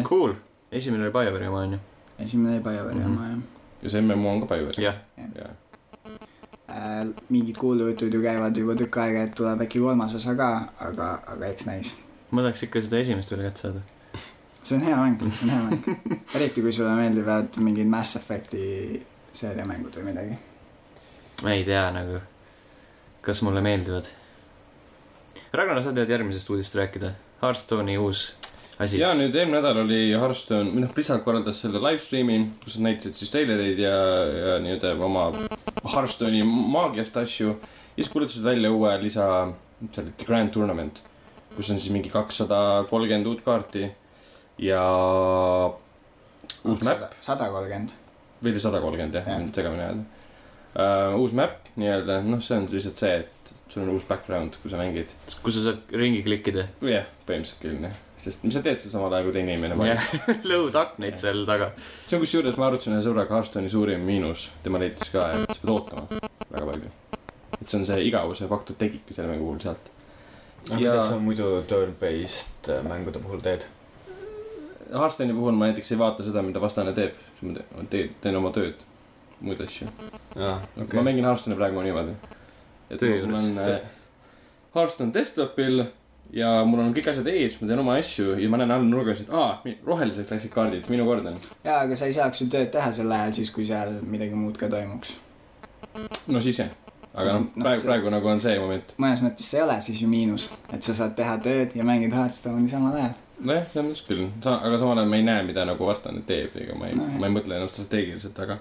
A: Cool , esimene oli BioWare'i oma onju .
D: esimene oli Bioware'i
A: Mhm.
D: oma jah .
B: ja see MMO on ka Bioware .
A: jah ,
B: jah .
D: Äh, mingid kuulujutud ju käivad juba tükk aega , et tuleb äkki kolmas osa ka , aga , aga eks näis .
A: ma tahaks ikka seda esimest veel kätte saada .
D: see on hea mäng , see on hea mäng . eriti kui sulle meeldivad mingid Mass Effect'i seeriamängud või midagi .
A: ma ei tea nagu , kas mulle meeldivad . Ragnar , sa tead järgmisest uudist rääkida , Hearthstone'i uus asi .
B: ja nüüd eelmine nädal oli Hearthstone , või noh , Blizzard korraldas selle live stream'i , kus nad näitasid siis treilereid ja , ja nii-öelda oma Hearthstone'i maagiast asju . ja siis kuulutasid välja uue lisa , mis see oli , The Grand Tournament , kus on siis mingi kakssada kolmkümmend uut kaarti ja uus map ,
D: sada kolmkümmend .
B: või oli sada kolmkümmend jah ,
D: Jah.
B: ma nüüd segamini ajan uh, . uus map nii-öelda , noh , see on lihtsalt see , et sul on uus background , kui sa mängid .
A: kus sa saad ringi klikkida
B: jah , põhimõtteliselt küll jah , sest mis sa teed seal samal ajal , kui teine inimene valib
A: ja . (laughs) load aknaid seal taga .
B: see on kusjuures , ma arutasin ühe sõbraga Hearthstone'i suurim miinus , tema leidis ka , et sa pead ootama väga palju . et see on see igavuse faktor tekibki selle mängu puhul sealt .
C: aga
B: Ja-
C: mida sa muidu turn-based äh, mängude puhul teed ?
B: Hearthstone'i puhul ma näiteks ei vaata seda , mida vastane teeb , ma te- ma teen , teen oma tööd , muid asju
C: jah ,
B: okay. . ma mängin Hearthstone'i praegu niimoodi . et
A: Töö
B: mul
A: juures.
B: on äh, Hearthstone desktopil ja mul on kõik asjad ees , ma teen oma asju ja ma näen all nurgas , et aa , roheliseks läksid kaardid , minu kord on .
D: jaa , aga sa ei saaks ju tööd teha sel ajal siis , kui seal midagi muud ka toimuks .
B: no siis jah , aga noh ,
D: No
B: praegu ,
D: see-
B: praegu nagu on see moment .
D: mõnes mõttes see ei ole siis ju miinus , et sa saad teha tööd ja mängid Hearthstone'i samal ajal .
B: nojah , selles mõttes küll , aga samal ajal ma ei näe , mida nagu vastane teeb , ega ma ei
D: Nojah.
B: no, , ma ei mõtle enam strateegiliselt , aga ,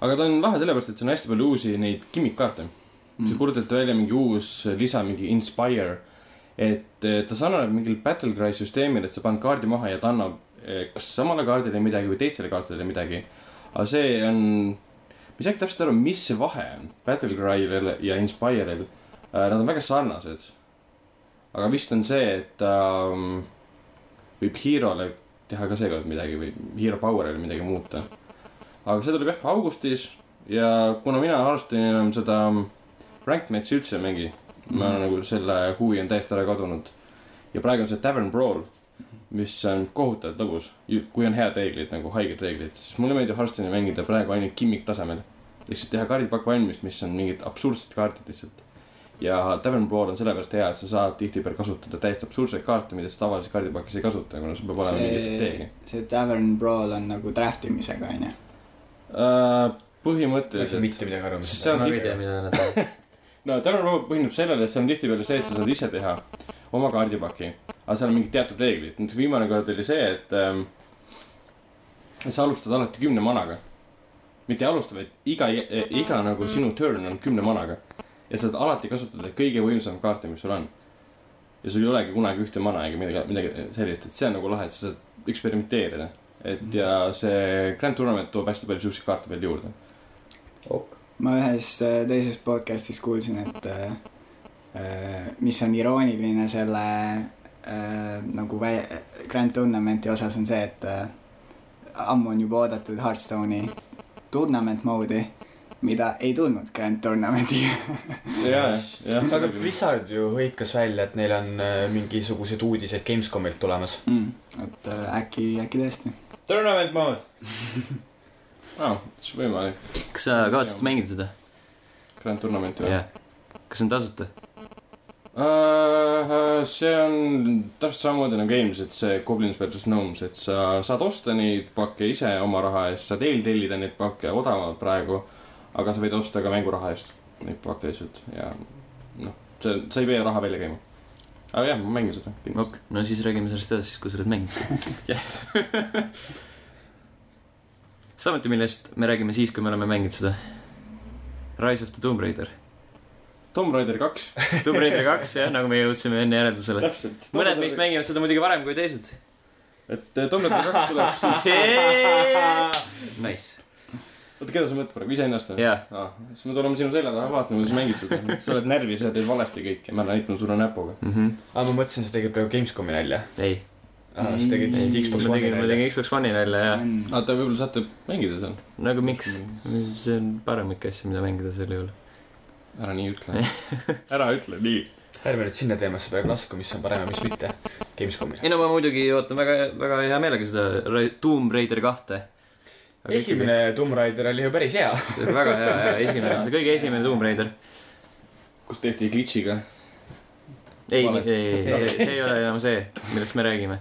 B: aga ta on lahe sellepärast , et siin on hästi palju uusi neid gimmick-kaarte mm. . see kuulutati välja mingi uus lisa , mingi Inspire , et eh, ta sarnaneb mingil Battle Cry süsteemil , et sa paned kaardi maha ja ta annab eh, kas samale kaardile midagi või teistele kaartidele midagi . aga see on , ma ei saagi täpselt aru , mis see vahe on Battle Cry'l ja Inspire'il . Nad on väga sarnased . aga vist on see , et ähm, võib Hero'le teha ka seekord midagi või Hero Power'ile midagi muuta . aga see tuleb jah augustis ja kuna mina alustan enam seda ehm, rank match'i üldse ei mängi , ma mm. nagu selle huvi on täiesti ära kadunud . ja praegu on see Tavern Brawl , mis on kohutavalt lõbus , kui on head reeglid nagu haiged reeglid , siis mulle meeldib Hearthstone'i mängida praegu ainult gimmick tasemel . lihtsalt teha kaardipakk valmis , mis on mingid absurdsed kaardid lihtsalt . ja Tavern Brawl on sellepärast hea , et sa saad tihtipeale kasutada täiesti absurdseid kaarte , mida sa tavalises kaardipakis ei kasuta , kuna sul peab olema see... mingi strateegia .
D: see Tavern Brawl on nagu draft imisega , onju .
C: ma ei saa
B: Äh, põhimõtteliselt ,
C: mitte midagi aru , mis
B: Sest see on
A: ma ei tea , mida nad teevad .
B: no Tavern Brawl põhineb sellele , et see on tihtipeale see , et sa saad ise teha oma kaardipaki , aga seal on mingid teatud reeglid , näiteks viimane kord oli see , et ähm, sa alustad alati kümne managa . mitte ei alusta , vaid iga , iga nagu sinu turn on kümne managa ja sa saad alati kasutada kõige võimsam kaarti , mis sul on . ja sul ei olegi kunagi ühte mana ega midagi , midagi sellist , et see on nagu lahe , et sa saad eksperimenteerida . et ja see Grand Tournament toob hästi palju siukseid kaarte veel juurde .
A: ok ,
D: ma ühes äh, teises podcastis kuulsin , et äh, äh, mis on irooniline selle äh, nagu vä- Grand Tournamenti osas on see , et äh, ammu on juba oodatud Hearthstone'i tournament mode'i , mida ei tulnud Grand
A: (laughs)
D: Tournamentiga .
B: ja , ja ,
C: aga
B: ja .
C: Blizzard ju hõikas välja , et neil on äh, mingisuguseid uudiseid Gamescomilt tulemas .
D: mm, . et äh, äkki , äkki tõesti .
E: Tournament
B: (laughs)
E: mode .
B: aa , siis Ah, võimalik .
A: (laughs) kas sa kavatsed mängida seda ?
B: Grand Tournament või ?
A: jah . kas see on tasuta ?
B: Uh, see on täpselt samamoodi nagu eelmised , see Goblins versus Gnomes , et sa saad osta neid pakke ise oma raha eest , saad eeltellida neid pakke odavamalt praegu , aga sa võid osta ka mänguraha eest neid pakke lihtsalt ja noh , sa , sa ei pea raha välja käima . aga jah , ma mängin seda kindlasti .
A: ok , no siis räägime sellest edasi , kui sa oled mänginud .
B: (laughs)
A: (laughs) samuti , millest me räägime siis , kui me oleme mänginud seda . Rise of the Tomb
B: (laughs)
A: Raider .
B: Tomb Raider kaks .
A: Tomb Raider kaks , jah , nagu me jõudsime enne järeldusele .
B: täpselt
A: mõned meist . mängivad seda muidugi varem kui (laughs) teised .
B: et eh, Tomb Raider kaks tuleb siis ,
A: Nice .
B: oota , keda sa mõtled praegu , iseennast või ?
A: jaa ,
B: Ah, siis me tuleme sinu selja taha , vaatame , kuidas mängid seda . sa oled närvis ja teed valesti kõike , ma näitan sulle näpuga .
A: Mhm.
C: aa , ma mõtlesin , sa tegid praegu Gamescomi nalja .
A: ei ,
C: aa , sa tegid lihtsalt
A: ma
C: Xbox One'i
A: tegin , ma
C: nalja .
A: tegin Xbox One'i välja ja
D: Mm.
B: oota , võib-olla saate mängida seal .
A: nagu miks , see on paremik asju , mida mängida sel juhul .
B: ära nii (laughs) ütle . ära ütle nii .
C: ärme nüüd sinna teemasse praegu lasku , mis on parem ja mis mitte . Gamescomi .
A: ei no ma muidugi ootan väga , väga hea meelega seda Ra- Tomb Raider kahte . (laughs)
C: esimene Tomb Raider oli ju päris hea .
A: väga hea , hea esimene , see kõige esimene Tomb Raider .
B: kus tehti glitch'iga .
A: ei , ei ,
B: Valet.
A: ei , see , see ei ole enam see , millest me räägime .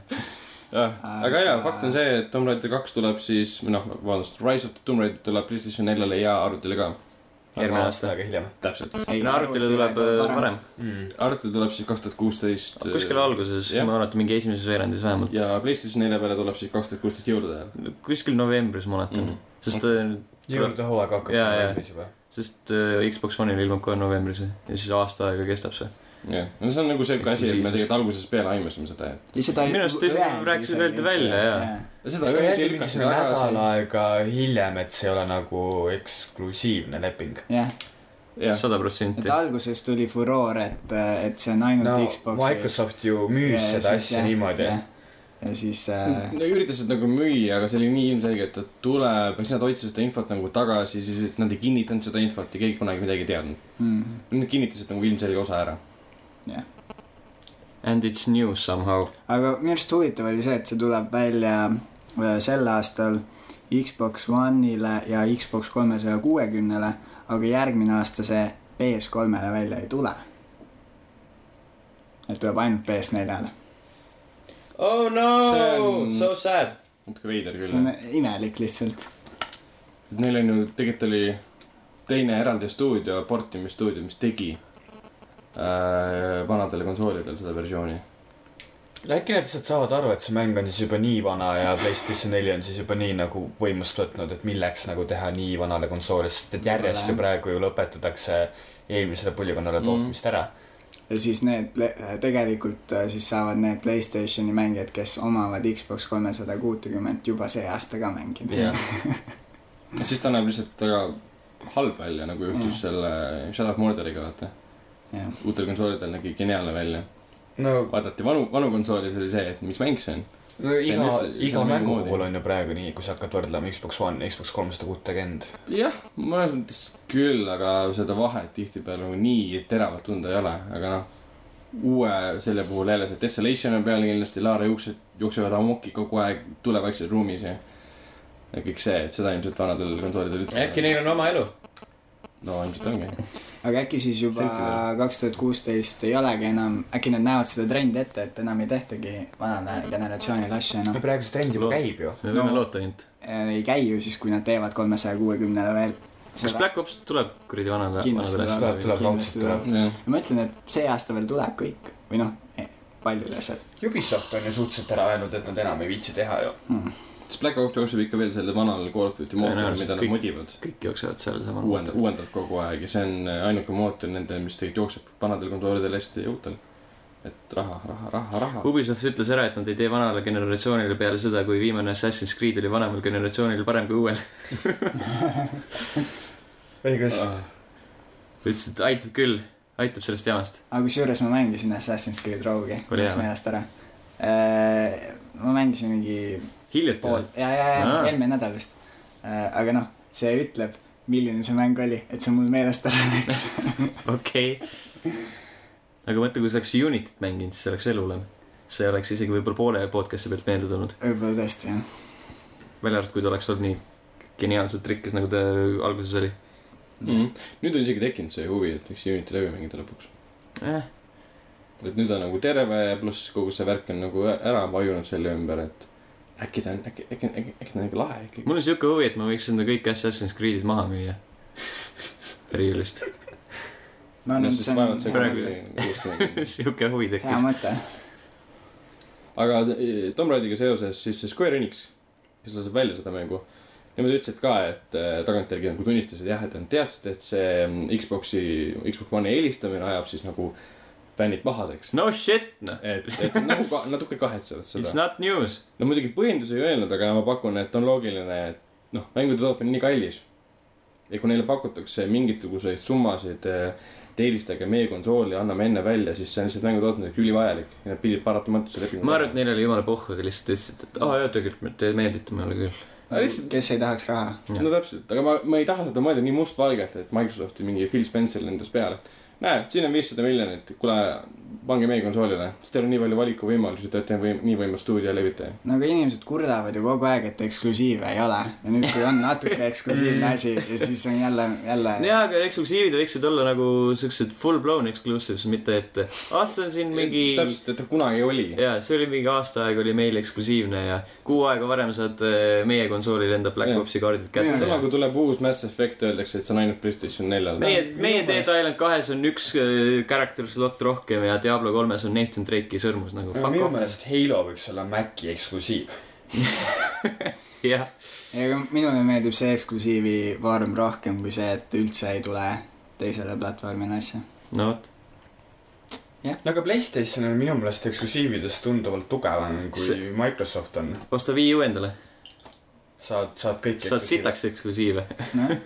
B: aga jaa , fakt on see , et Tomb Raider kaks tuleb siis , või noh , vabandust , Rise of the Tomb Raider tuleb PlayStation neljale ja arvutile ka .
A: Järgmine aasta.
C: aega hiljem
B: täpselt .
A: no arvutile tuleb äh, varem ,
C: mm. .
B: arvutile tuleb siis kaks tuhat kuusteist .
A: kuskil . alguses ,
B: jah.
A: ma arvan , et mingi esimeses veerandis vähemalt .
B: ja PlayStation nelja peale tuleb siis kaks tuhat kuusteist jõulude ajal .
A: kuskil novembris ma mäletan
B: Mhm.
A: mm. , sest äh,
C: jõulude hooaeg hakkab
A: Jaa, jaa.
C: valmis juba .
A: sest äh, Xbox One'il ilmub kohe novembris ja siis aasta aega kestab see .
B: jah , no see on nagu siuke asi , et me tegelikult algusest peale aimasime seda , et .
D: lihtsalt
A: Minu arust isegi rääkisid öeldi välja, jaa. .
B: seda
C: seda
B: öeldi
C: öeldi
B: lükkasid
C: mingisugune
B: ära
C: nädal . aega hiljem , et see ei ole nagu eksklusiivne leping .
D: jah ,
B: jah ,
A: sada
D: et
A: protsenti .
D: alguses tuli furoor , et , et see on ainult
C: no
D: Xbox'i .
C: Microsoft ju müüs ja, seda asja jah, niimoodi .
D: ja siis äh,
B: no üritasid nagu müüa , aga see oli nii ilmselge , et ta tuleb ja siis nad hoidsid seda infot nagu tagasi , siis et nad ei kinnitanud seda infot ja keegi kunagi midagi ei teadnud .
D: mm,
B: Nad kinnitasid nagu ilmselge osa ära .
A: And it's new somehow .
D: aga minu arust huvitav oli see , et see tuleb välja äh, sel aastal Xbox One'ile ja Xbox kolmesaja kuuekümnele , aga järgmine aasta see PS3-le välja ei tule . et tuleb ainult PS4-le ,
E: Oh
B: See
E: no
B: on- ,
E: so sad .
B: natuke veider
D: see on
B: küll .
D: imelik lihtsalt .
B: Neil on ju , tegelikult oli teine eraldi stuudio , portimisstuudio , mis tegi äh, vanadel konsoolidel seda versiooni .
C: äkki nad lihtsalt saavad aru , et see mäng on siis juba nii vana ja PlayStation neli on siis juba nii nagu võimust võtnud , et milleks nagu teha nii vanale konsoolile , sest et järjest ju
D: Võib-olla,
C: praegu ju lõpetatakse eelmisele põlvkonnale
B: Mm.
C: tootmist ära .
D: ja siis need ple- tegelikult äh, siis saavad need Playstationi mängijad , kes omavad Xbox kolmesada kuutekümmet juba see aasta ka mängida .
B: jah . ja siis ta näeb lihtsalt väga halb välja , nagu juhtus
D: Jah.
B: selle Shadow of Mordoriga , vaata .
D: Jah.
B: uutel konsoolidel nägi geniaalne välja .
C: no
B: vaadati vanu , vanu konsooli , see oli see , et mis mäng see on .
C: no iga
B: See on , üldse- see
C: iga
B: on mingi
C: mängu
B: moodi.
C: puhul on ju praegu nii , kui sa hakkad võrdlema Xbox One , Xbox kolmsada kuutekümmend .
B: jah , mõnes mõttes küll , aga seda vahet tihtipeale nagu nii teravalt tunda ei ole , aga noh , uue selle puhul jälle see Desolation on peal kindlasti , Laara juuksed jooksevad amoki kogu aeg tulevaikses ruumis ja ja kõik see , et seda ilmselt vanadel konsoolidel üldse
E: äkki neil on oma elu ?
B: no ilmselt ongi .
D: aga äkki siis juba
B: Sentinel.
D: kaks tuhat kuusteist ei olegi enam , äkki nad näevad seda trendi ette , et enam ei tehtagi vanale generatsioonile asju
B: Noh.
D: enam
C: no . praegu see trend juba käib ju .
A: me võime
D: No.
A: no. loota ainult .
D: ei käi ju siis , kui nad teevad kolmesaja kuuekümnele veel .
A: kas Black Ops tuleb kuradi vanade ,
D: Kindlasti
A: vanade
C: tuleb ,
A: asjadega ?
C: tuleb
D: kindlasti
C: raudselt tuleb .
B: jah ,
D: ma ütlen , et see aasta veel tuleb kõik või noh , paljud asjad
C: Ubisoft on ju suhteliselt ära öelnud , et nad enam ei viitsi teha ju .
D: hmm. .
B: siis Black Ops jookseb ikka veel selle vanal Call of Duty mootoril ,
A: Tõenäoliselt
B: mida nad
A: kõik-
B: modivad .
A: kõik jooksevad seal samal
B: uuend- , uuendavad kogu aeg ja see on äh, ainuke mootor nende , mis tegelikult jookseb vanadel konsoolidel hästi ja uutel . et raha , raha , raha , raha .
A: Ubisoft ütles ära , et nad ei tee vanale generatsioonile peale seda , kui viimane Assassin's Creed oli vanemal generatsioonil parem kui uuel .
C: õigus .
B: Ah.
A: ütles , et aitab küll , aitab sellest jamast .
D: aga kusjuures ma mängisin Assassin's Creed Rogue'i ,
A: Oli hea
D: läks
A: või?
D: meelest ära . ma mängisin mingi
A: hiljuti
D: pool
A: või ?,
D: ja , ja , ja
A: Aa.
D: eelmine nädal vist . aga noh , see ütleb , milline see mäng oli , et see mul meelest ära läks .
A: okei okay. . aga mõtle , kui sa oleks Unitit mänginud , siis see oleks veel hullem . see oleks isegi võib-olla poole podcast'i pealt meelde tulnud ,
D: võib-olla tõesti jah .
A: välja arvatud , kui ta oleks olnud nii geniaalselt rikkis , nagu ta alguses oli
B: mm . -hmm. nüüd on isegi tekkinud see huvi , et võiks Unity läbi mängida lõpuks .
A: eh, .
B: et nüüd on nagu terve ja pluss kogu see värk on nagu ära vajunud selle ümber , et äkki ta on , äkki , äkki , äkki , äkki ta on ikka lahe ikkagi .
A: mul on siuke huvi , et ma võiks enda kõik Assassin's Creed'id maha müüa . (laughs) riiulist ,
D: no nüüd see on
A: see
D: hea,
A: praegu- (laughs) siuke huvi
D: hea
A: tekkis .
D: mõte .
B: aga eh, Tomb Raidiga seoses siis see Square Enix , kes laseb välja seda mängu , nemad ütlesid ka , et eh, tagantjärgi nagu tunnistasid jah , et nad teadsid , et see mm, Xbox'i , Xbox One'i eelistamine ajab siis nagu fännid pahaseks .
A: (laughs) no shit , noh .
B: et , et nagu ka, natuke kahetsevad seda
A: It's . not news .
B: no muidugi põhjendusi ei öelnud , aga ma pakun , et on loogiline , et noh , mängude tootmine on nii kallis . ja kui neile pakutakse mingisuguseid summasid , et eelistage meie konsooli , anname enne välja , siis see on lihtsalt mängu tootmiseks ülivajalik ja nad pidid paratamatult selle lepingu
A: ma arvan , et neil oli jumala pohhu , aga lihtsalt ütlesid , et aa oh, jaa , tegelikult te meeldite mulle küll .
B: Aga lihtsalt-
D: kes ei tahaks raha ?
A: jah.
B: no täpselt , aga ma , ma ei taha seda mõelda nii mustvalgelt , et Microsofti mingi Phil Spencer lendas peale . näed , siin on viissada miljonit , kuule , pange meie konsoolile , sest teil on nii palju valikuvõimalusi , te olete võim- nii võimas stuudio ja levitaja .
D: no aga Nagu inimesed kurdavad ju kogu aeg , et eksklusiive ei ole ja nüüd , kui on natuke eksklusiivne asi ja siis on jälle , jälle .
A: jaa , aga eksklusiivid võiksid olla nagu siuksed full blown exclusives , mitte et ah , see on siin mingi ,
B: täpselt , et ta kunagi oli .
A: jaa , see oli mingi aasta aega oli meil eksklusiivne ja kuu aega varem saad äh, meie konsoolil enda Black
B: Jah.
A: Opsi kaardid
D: Jah.
A: kätte
B: sama . kui tuleb uus Mass Effect , öeldakse , et see on ainult Playstation neljal .
A: meie ,
D: Minu
A: meie Dead
D: meelest-
A: Island kahes on üks äh, character slot rohkem ja Diablo kolmes on Nathan Drake'i sõrmus nagu fuck
C: minu
A: off ,
C: meelest Halo võiks olla Maci eksklusiiv .
A: jah .
D: ei , aga minule meeldib see eksklusiivi vorm rohkem kui see , et üldse ei tule teisele platvormile asja .
A: no vot ,
C: no aga Playstation on minu meelest eksklusiivides tunduvalt tugevam kui
A: See-
C: see... Microsoft on .
A: osta Wii U endale ,
C: saad , saad kõik .
A: saad . sitaks eksklusiive .
D: noh ,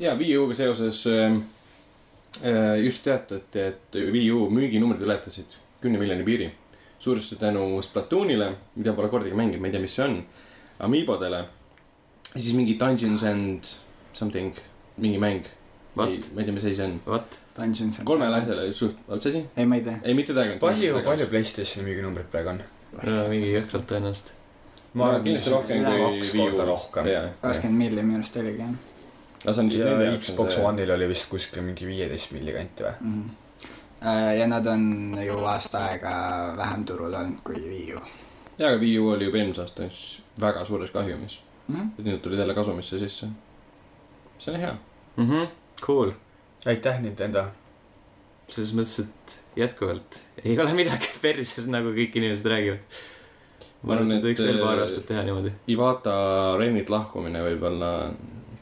B: ja Wii U-ga seoses ähm, äh, just teatati , et Wii U müüginumbrid ületasid kümne miljoni piiri . suuresti tänu Splatoonile , mida pole kordagi mänginud , ma ei tea , mis see on , Amiibodele , siis mingi Dungeons and something , mingi mäng . ma ei
A: What?
B: ma ei tea , mis asi see on .
A: vot ,
D: Dungeons and
B: kolmele . asjale suht , oot see asi ?
D: ei , ma ei tea .
B: ei , mitte Dragon .
C: palju , palju Playstationi müüginumbrid praegu on ?
A: mingi jõhkralt tõenäoliselt .
C: ma arvan ,
B: kindlasti rohkem
D: üle
B: kui
C: kaks
B: Wii U
C: korda . rohkem .
B: aga
D: kakskümmend milli minu arust oligi jah
B: see on lihtsalt nende
C: ja
B: jaoks on
C: Xbox
B: see-
C: One'il oli vist kuskil mingi viieteist milli kanti või ?
D: mm. . Äh, ja nad on ju aasta aega vähem turul olnud kui Wii U
B: jaa , aga Wii U oli juba eelmise aasta üks väga suures kahjumis ,
D: mm. .
B: et nüüd tuli jälle kasumisse sisse . see on hea .
A: mhmh , Mhm. cool .
C: aitäh , Nintendo .
A: selles mõttes , et jätkuvalt ei ole midagi (laughs) perses , nagu kõik inimesed räägivad . ma arvan , et äh, võiks veel paar aastat teha niimoodi .
B: Ivata Rennilt lahkumine võib-olla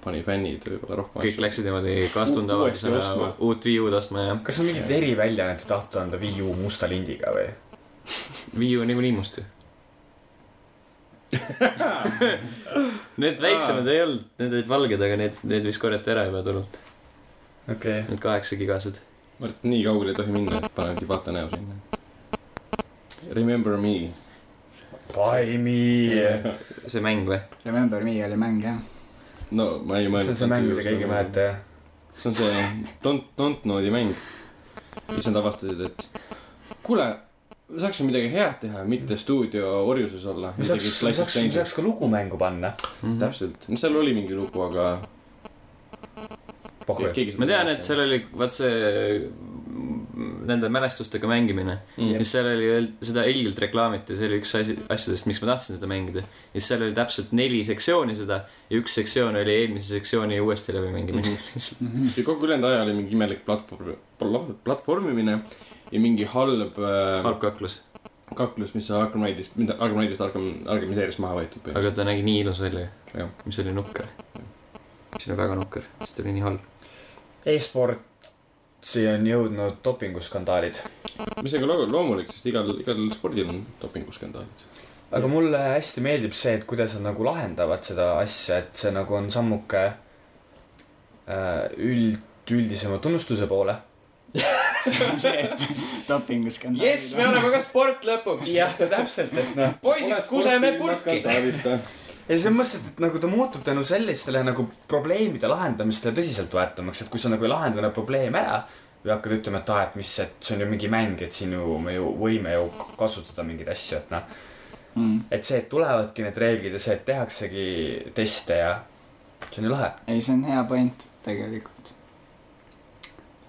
B: pani fännid võib-olla rohkem
A: kõik
B: asju .
A: läksid niimoodi
B: U- uuesti
A: kaastundavaldusena
B: ostma.
A: uut Wii U-d ostma ja
C: kas on mingit eriväljaannet tahtu anda Wii U musta lindiga või ?
A: Wii U niikuinii must
B: (laughs)
A: ju Need väiksemad ei olnud , need olid valged , aga need , need vist korjati ära juba tulult ,
C: okei okay. .
A: need kaheksa gigased .
B: ma arvan , et nii kaugele ei tohi minna , et paned Ivata näo sinna . Remember me .
C: By me .
A: see mäng või ?
D: Remember Me oli mäng jah .
B: (laughs) no ma ei
C: see
B: mõelnud .
C: on see mäng , mida keegi ei . mäleta jah ?
B: nagu- see on see Don't , Don't Know'i mäng , mis nad avastasid , et kuule , saaksime midagi head teha , mitte stuudio orjuses olla .
C: me saaks , me saaks , me saaks ka lugumängu panna .
A: Mhm.
B: täpselt , no seal oli mingi lugu , aga .
C: pohhu .
A: ma tean , et seal oli , vaat see mm, nende mälestustega mängimine ,
B: Mm.
A: siis seal oli , seda ilgelt reklaamiti , see oli üks asi , asjadest , miks ma tahtsin seda mängida . ja siis seal oli täpselt neli sektsiooni seda ja üks sektsioon oli eelmise sektsiooni uuesti läbi
B: Mhm.
A: (laughs) mängimine .
D: Mhm.
B: ja kogu ülejäänud aja oli mingi imelik platvorm , platvormimine ja mingi halb äh,
A: halb kaklus ,
B: kaklus , mis Arkham Raidist , mida Arkham Raidist Arkham , Arkhami seeriast maha võetud
A: aga ta nägi nii ilus välja ,
B: Jah.
A: mis oli nukker . see oli väga nukker , sest ta oli nii halb .
C: e-sportsi on jõudnud dopinguskandaalid .
B: mis on ka loo- loomulik , sest igal , igal spordil on dopinguskandaalid .
C: aga mulle hästi meeldib see , et kuidas nad nagu lahendavad seda asja , et see nagu on sammuke äh, üld , üldisema tunnustuse poole .
D: (laughs) dopinguskandaal .
E: jess , me oleme ka sport lõpuks .
C: jah , (laughs) täpselt , et noh .
E: poisid , kuseme purki .
C: ja selles mõttes , et nagu ta muutub tänu sellistele nagu probleemide lahendamistele tõsiseltvõetavamaks , et kui sa nagu ei lahenda neid probleeme ära ja hakkad ütlema , et aa , et mis , et see on ju mingi mäng , et siin ju me ju võime ju kasutada mingeid asju , et noh ,
D: mm. .
C: et see , et tulevadki need reeglid ja see , et tehaksegi teste ja see on ju lahe .
D: ei , see on hea point tegelikult .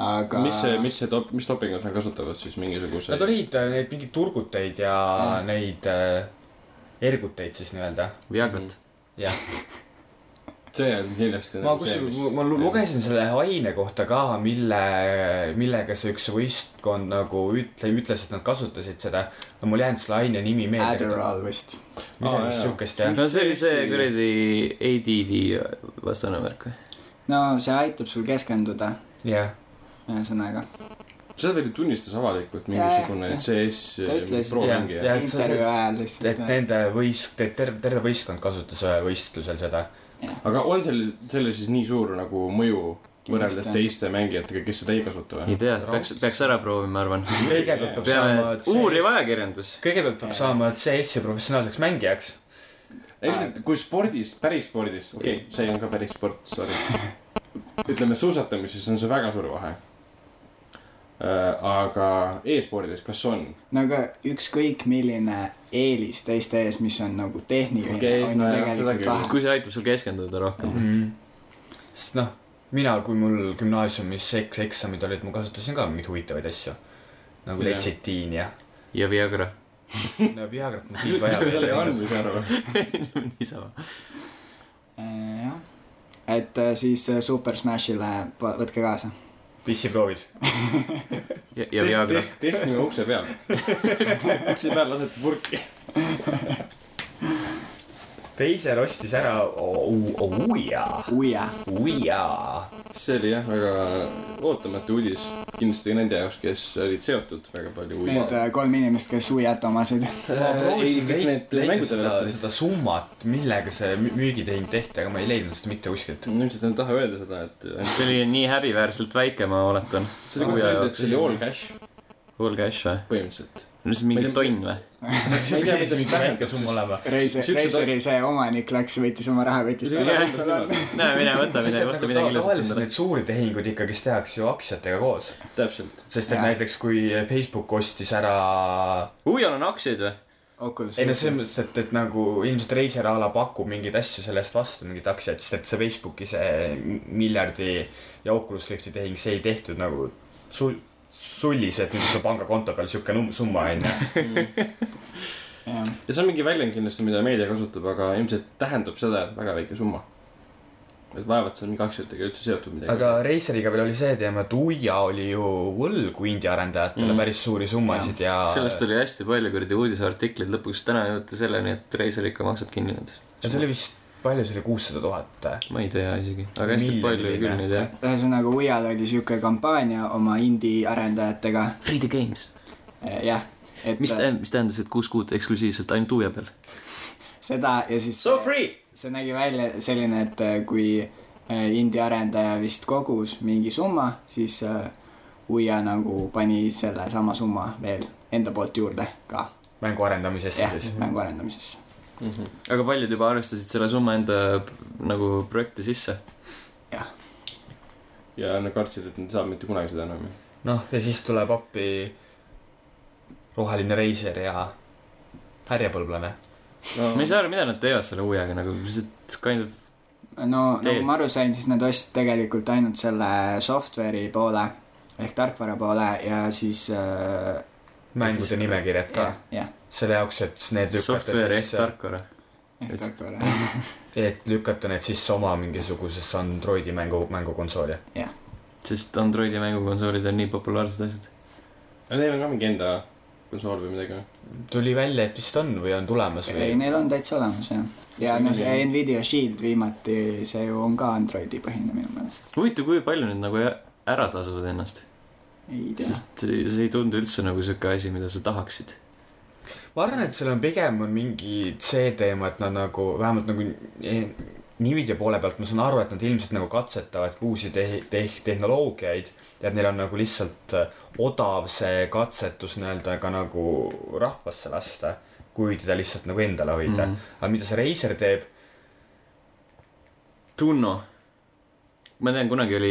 D: aga .
B: mis see , mis see top , mis dopingut nad kasutavad siis mingisuguse ?
C: Nad olid äh, neid mingeid turguteid ja
D: Mm.
C: neid äh, erguteid siis nii-öelda .
A: Viagrat ,
C: jah ,
B: see on kindlasti .
C: ma kusjuures , ma lu- lugesin selle aine kohta ka , mille , millega see üks võistkond nagu ütle , ütles , et nad kasutasid seda . no mul ei jäänud selle aine nimi meelde .
D: Adderall vist .
B: Aa,
C: midagi
B: jaa.
C: siukest jah .
A: no Noh, see oli see kuradi ADD vastane värk või ?
D: no see aitab sul keskenduda ,
C: jah ,
D: ühesõnaga .
B: seda veel tunnistas avalikult
D: Jaa, jaa,
B: mingisugune
D: jah.
B: CS
D: Ta ütles-
B: proomängija .
C: Jah, et sa-
D: intervjuu ajal
C: et
D: lihtsalt . äh,
C: nende võist- , terve , terve võistkond kasutas ühel võistlusel seda .
B: aga on sellel , sellel siis nii suur nagu mõju võrreldes
D: Kindlasti.
B: teiste mängijatega , kes seda ei kasuta või
A: ei ? tea , peaks , peaks ära proovima , ma arvan .
C: kõigepealt peab saama
A: peame , uuriv ajakirjandus .
C: kõigepealt peab saama CS-i professionaalseks mängijaks .
B: ei , lihtsalt kui spordis , päris spordis , Ah. okei okay, , see on ka päris sport , sorry . ütleme suusatamises on see väga suur vahe . aga e-spordis , kas on ?
D: no aga ükskõik milline eelis teiste ees , mis on nagu tehniline
B: Okei,
D: okay, , on
B: no
D: ju
B: jah,
D: tegelikult
B: seda küll.
D: vahe .
A: kui see aitab sul keskenduda rohkem .
B: Mhm.
C: mm. . sest noh , mina , kui mul gümnaasiumis eks- , eksamid olid , ma kasutasin ka mingeid huvitavaid asju . nagu
B: Jah.
C: letsitiin
B: (laughs)
C: ja .
A: ja (laughs) Viagra .
C: no Viagrat ma siis vaja ei
B: sellega on ,
C: olnud .
B: ma ei saa aru .
A: niisama .
D: Äh, jah , et äh, siis äh, Super Smashile po- võtke kaasa .
C: pissiproovid .
A: ja , ja Viagra .
B: test , testime ukse (laughs) peal . ukse peal lased purki .
C: Peiser ostis ära uia ,
D: uia ,
C: uia .
B: see oli jah , väga ootamatu uudis kindlasti nende jaoks , kes olid seotud väga palju
D: need
B: uimaga .
D: äh, kolm inimest , kes uiat omasid .
B: Äh,
C: äh, ma proovisin kõik leida seda
B: mängudele ,
C: seda summat , millega see mü- müügitehing tehti , aga ma ei leidnud seda mitte kuskilt .
B: ilmselt nad ei taha öelda seda , et äh,
A: see oli nii häbiväärselt väike , ma oletan .
B: see oli kuulda öelda , et see oli all cash
A: All cash või ?
B: põhimõtteliselt .
A: no see on
B: Ma ei
A: mingi
B: tea-
A: tonn või ?
B: (laughs) ma ei tea , mida see
C: väike
B: tähendab ,
C: summa olema .
D: Reiser ,
B: Siuksed-
D: Reiseri see omanik läks , võttis oma rahakotist
B: See-
D: ära
A: jah. ,
D: mis tal on .
A: (laughs) näe , mine võta midagi , osta midagi ilusat
C: tavaliselt
A: endale .
C: neid suuri tehinguid ikkagist tehakse ju aktsiatega koos .
B: täpselt .
C: sest et
D: Jaa.
C: näiteks kui Facebook ostis ära ,
A: Uial on aktsiaid või ?
D: Oculus
C: ei no selles mõttes , et , et nagu ilmselt Razer a la pakub mingeid asju selle eest vastu , mingeid aktsiaid , sest et see Facebooki see miljardi ja Oculus Rifti tehing , see ei tehtud nagu sul- , sullis , et nüüd su pangakonto peal siuke num- , summa onju .
D: jah ,
B: ja see on mingi väljend kindlasti , mida meedia kasutab , aga ilmselt tähendab seda , et väga väike summa . et vaevalt seal mingi aktsiatega üldse seotud midagi .
C: aga Reiseriga veel oli see teema , et Uia oli ju võlgu indie arendajatele
B: Mm.
C: mm. päris suuri summasid ja,
A: sellest oli hästi palju kuradi uudisartikleid , lõpuks täna jõuti selleni , et Razer ikka maksab kinni need .
C: ja see oli vist , palju see oli , kuussada tuhat
A: ma ei tea isegi , aga hästi
C: Miljoniline.
A: palju oli küll neid jah .
D: ühesõnaga , Uial oli siuke kampaania oma indie arendajatega ,
A: Free the games .
D: jah , et
A: mis , mis tähendas , et kuus kuud eksklusiivselt ainult uue peal .
D: seda ja siis
E: So free .
D: see nägi välja selline , et äh, kui äh, indie arendaja vist kogus mingi summa , siis äh, Uia nagu pani selle sama summa veel enda poolt juurde ka ,
C: mängu arendamisesse
D: jah
C: siis ,.
D: mängu arendamisesse .
B: Mhm.
A: aga paljud juba arvestasid selle summa enda nagu projekti sisse .
B: ja nad kartsid , et nad ei saa mitte kunagi seda enam .
C: noh , ja siis tuleb appi roheline Reiser ja härjapõlblane .
A: ma ei saa aru , mida nad teevad selle uuega nagu , lihtsalt kind of ,
D: no nagu
A: Teed.
D: ma aru sain , siis nad ostsid tegelikult ainult selle software'i poole ehk tarkvara poole ja siis äh,
C: mängude nimekirjad ka
D: jah , jah ,
C: selle jaoks , et need lükata
A: software ehk
C: siis ,
A: tarkvara .
D: ehk
A: Just.
D: tarkvara .
C: et lükata need sisse oma mingisugusesse Androidi mängu , mängukonsooli .
A: sest Androidi mängukonsoolid on nii populaarsed asjad .
B: aga neil on ka mingi enda konsool või midagi või ?
C: tuli välja , et vist on või on tulemas
D: ei ,
C: või ?
D: neil on täitsa olemas jah . ja
B: See
D: no
B: on
D: see
B: mingi-
D: Nvidia Shield viimati , see ju on ka Androidi põhine minu meelest .
A: huvitav , kui palju need nagu ä- ära tasuvad ennast ,
D: ei tea .
A: sest see see ei tundu üldse nagu siuke asi , mida sa tahaksid .
C: ma arvan , et seal on pigem on mingi see teema , et nad nagu vähemalt nagu eh, Nvidia poole pealt ma saan aru , et nad ilmselt nagu katsetavad ka uusi te- , te- , tehnoloogiaid ja et neil on nagu lihtsalt eh, odav see katsetus nii-öelda ka nagu rahvasse lasta , kui teda lihtsalt nagu endale hoida mm .
A: Mhm.
C: -hmm. aga mida see Razer teeb , (laughs)
A: Tunno . ma tean , kunagi oli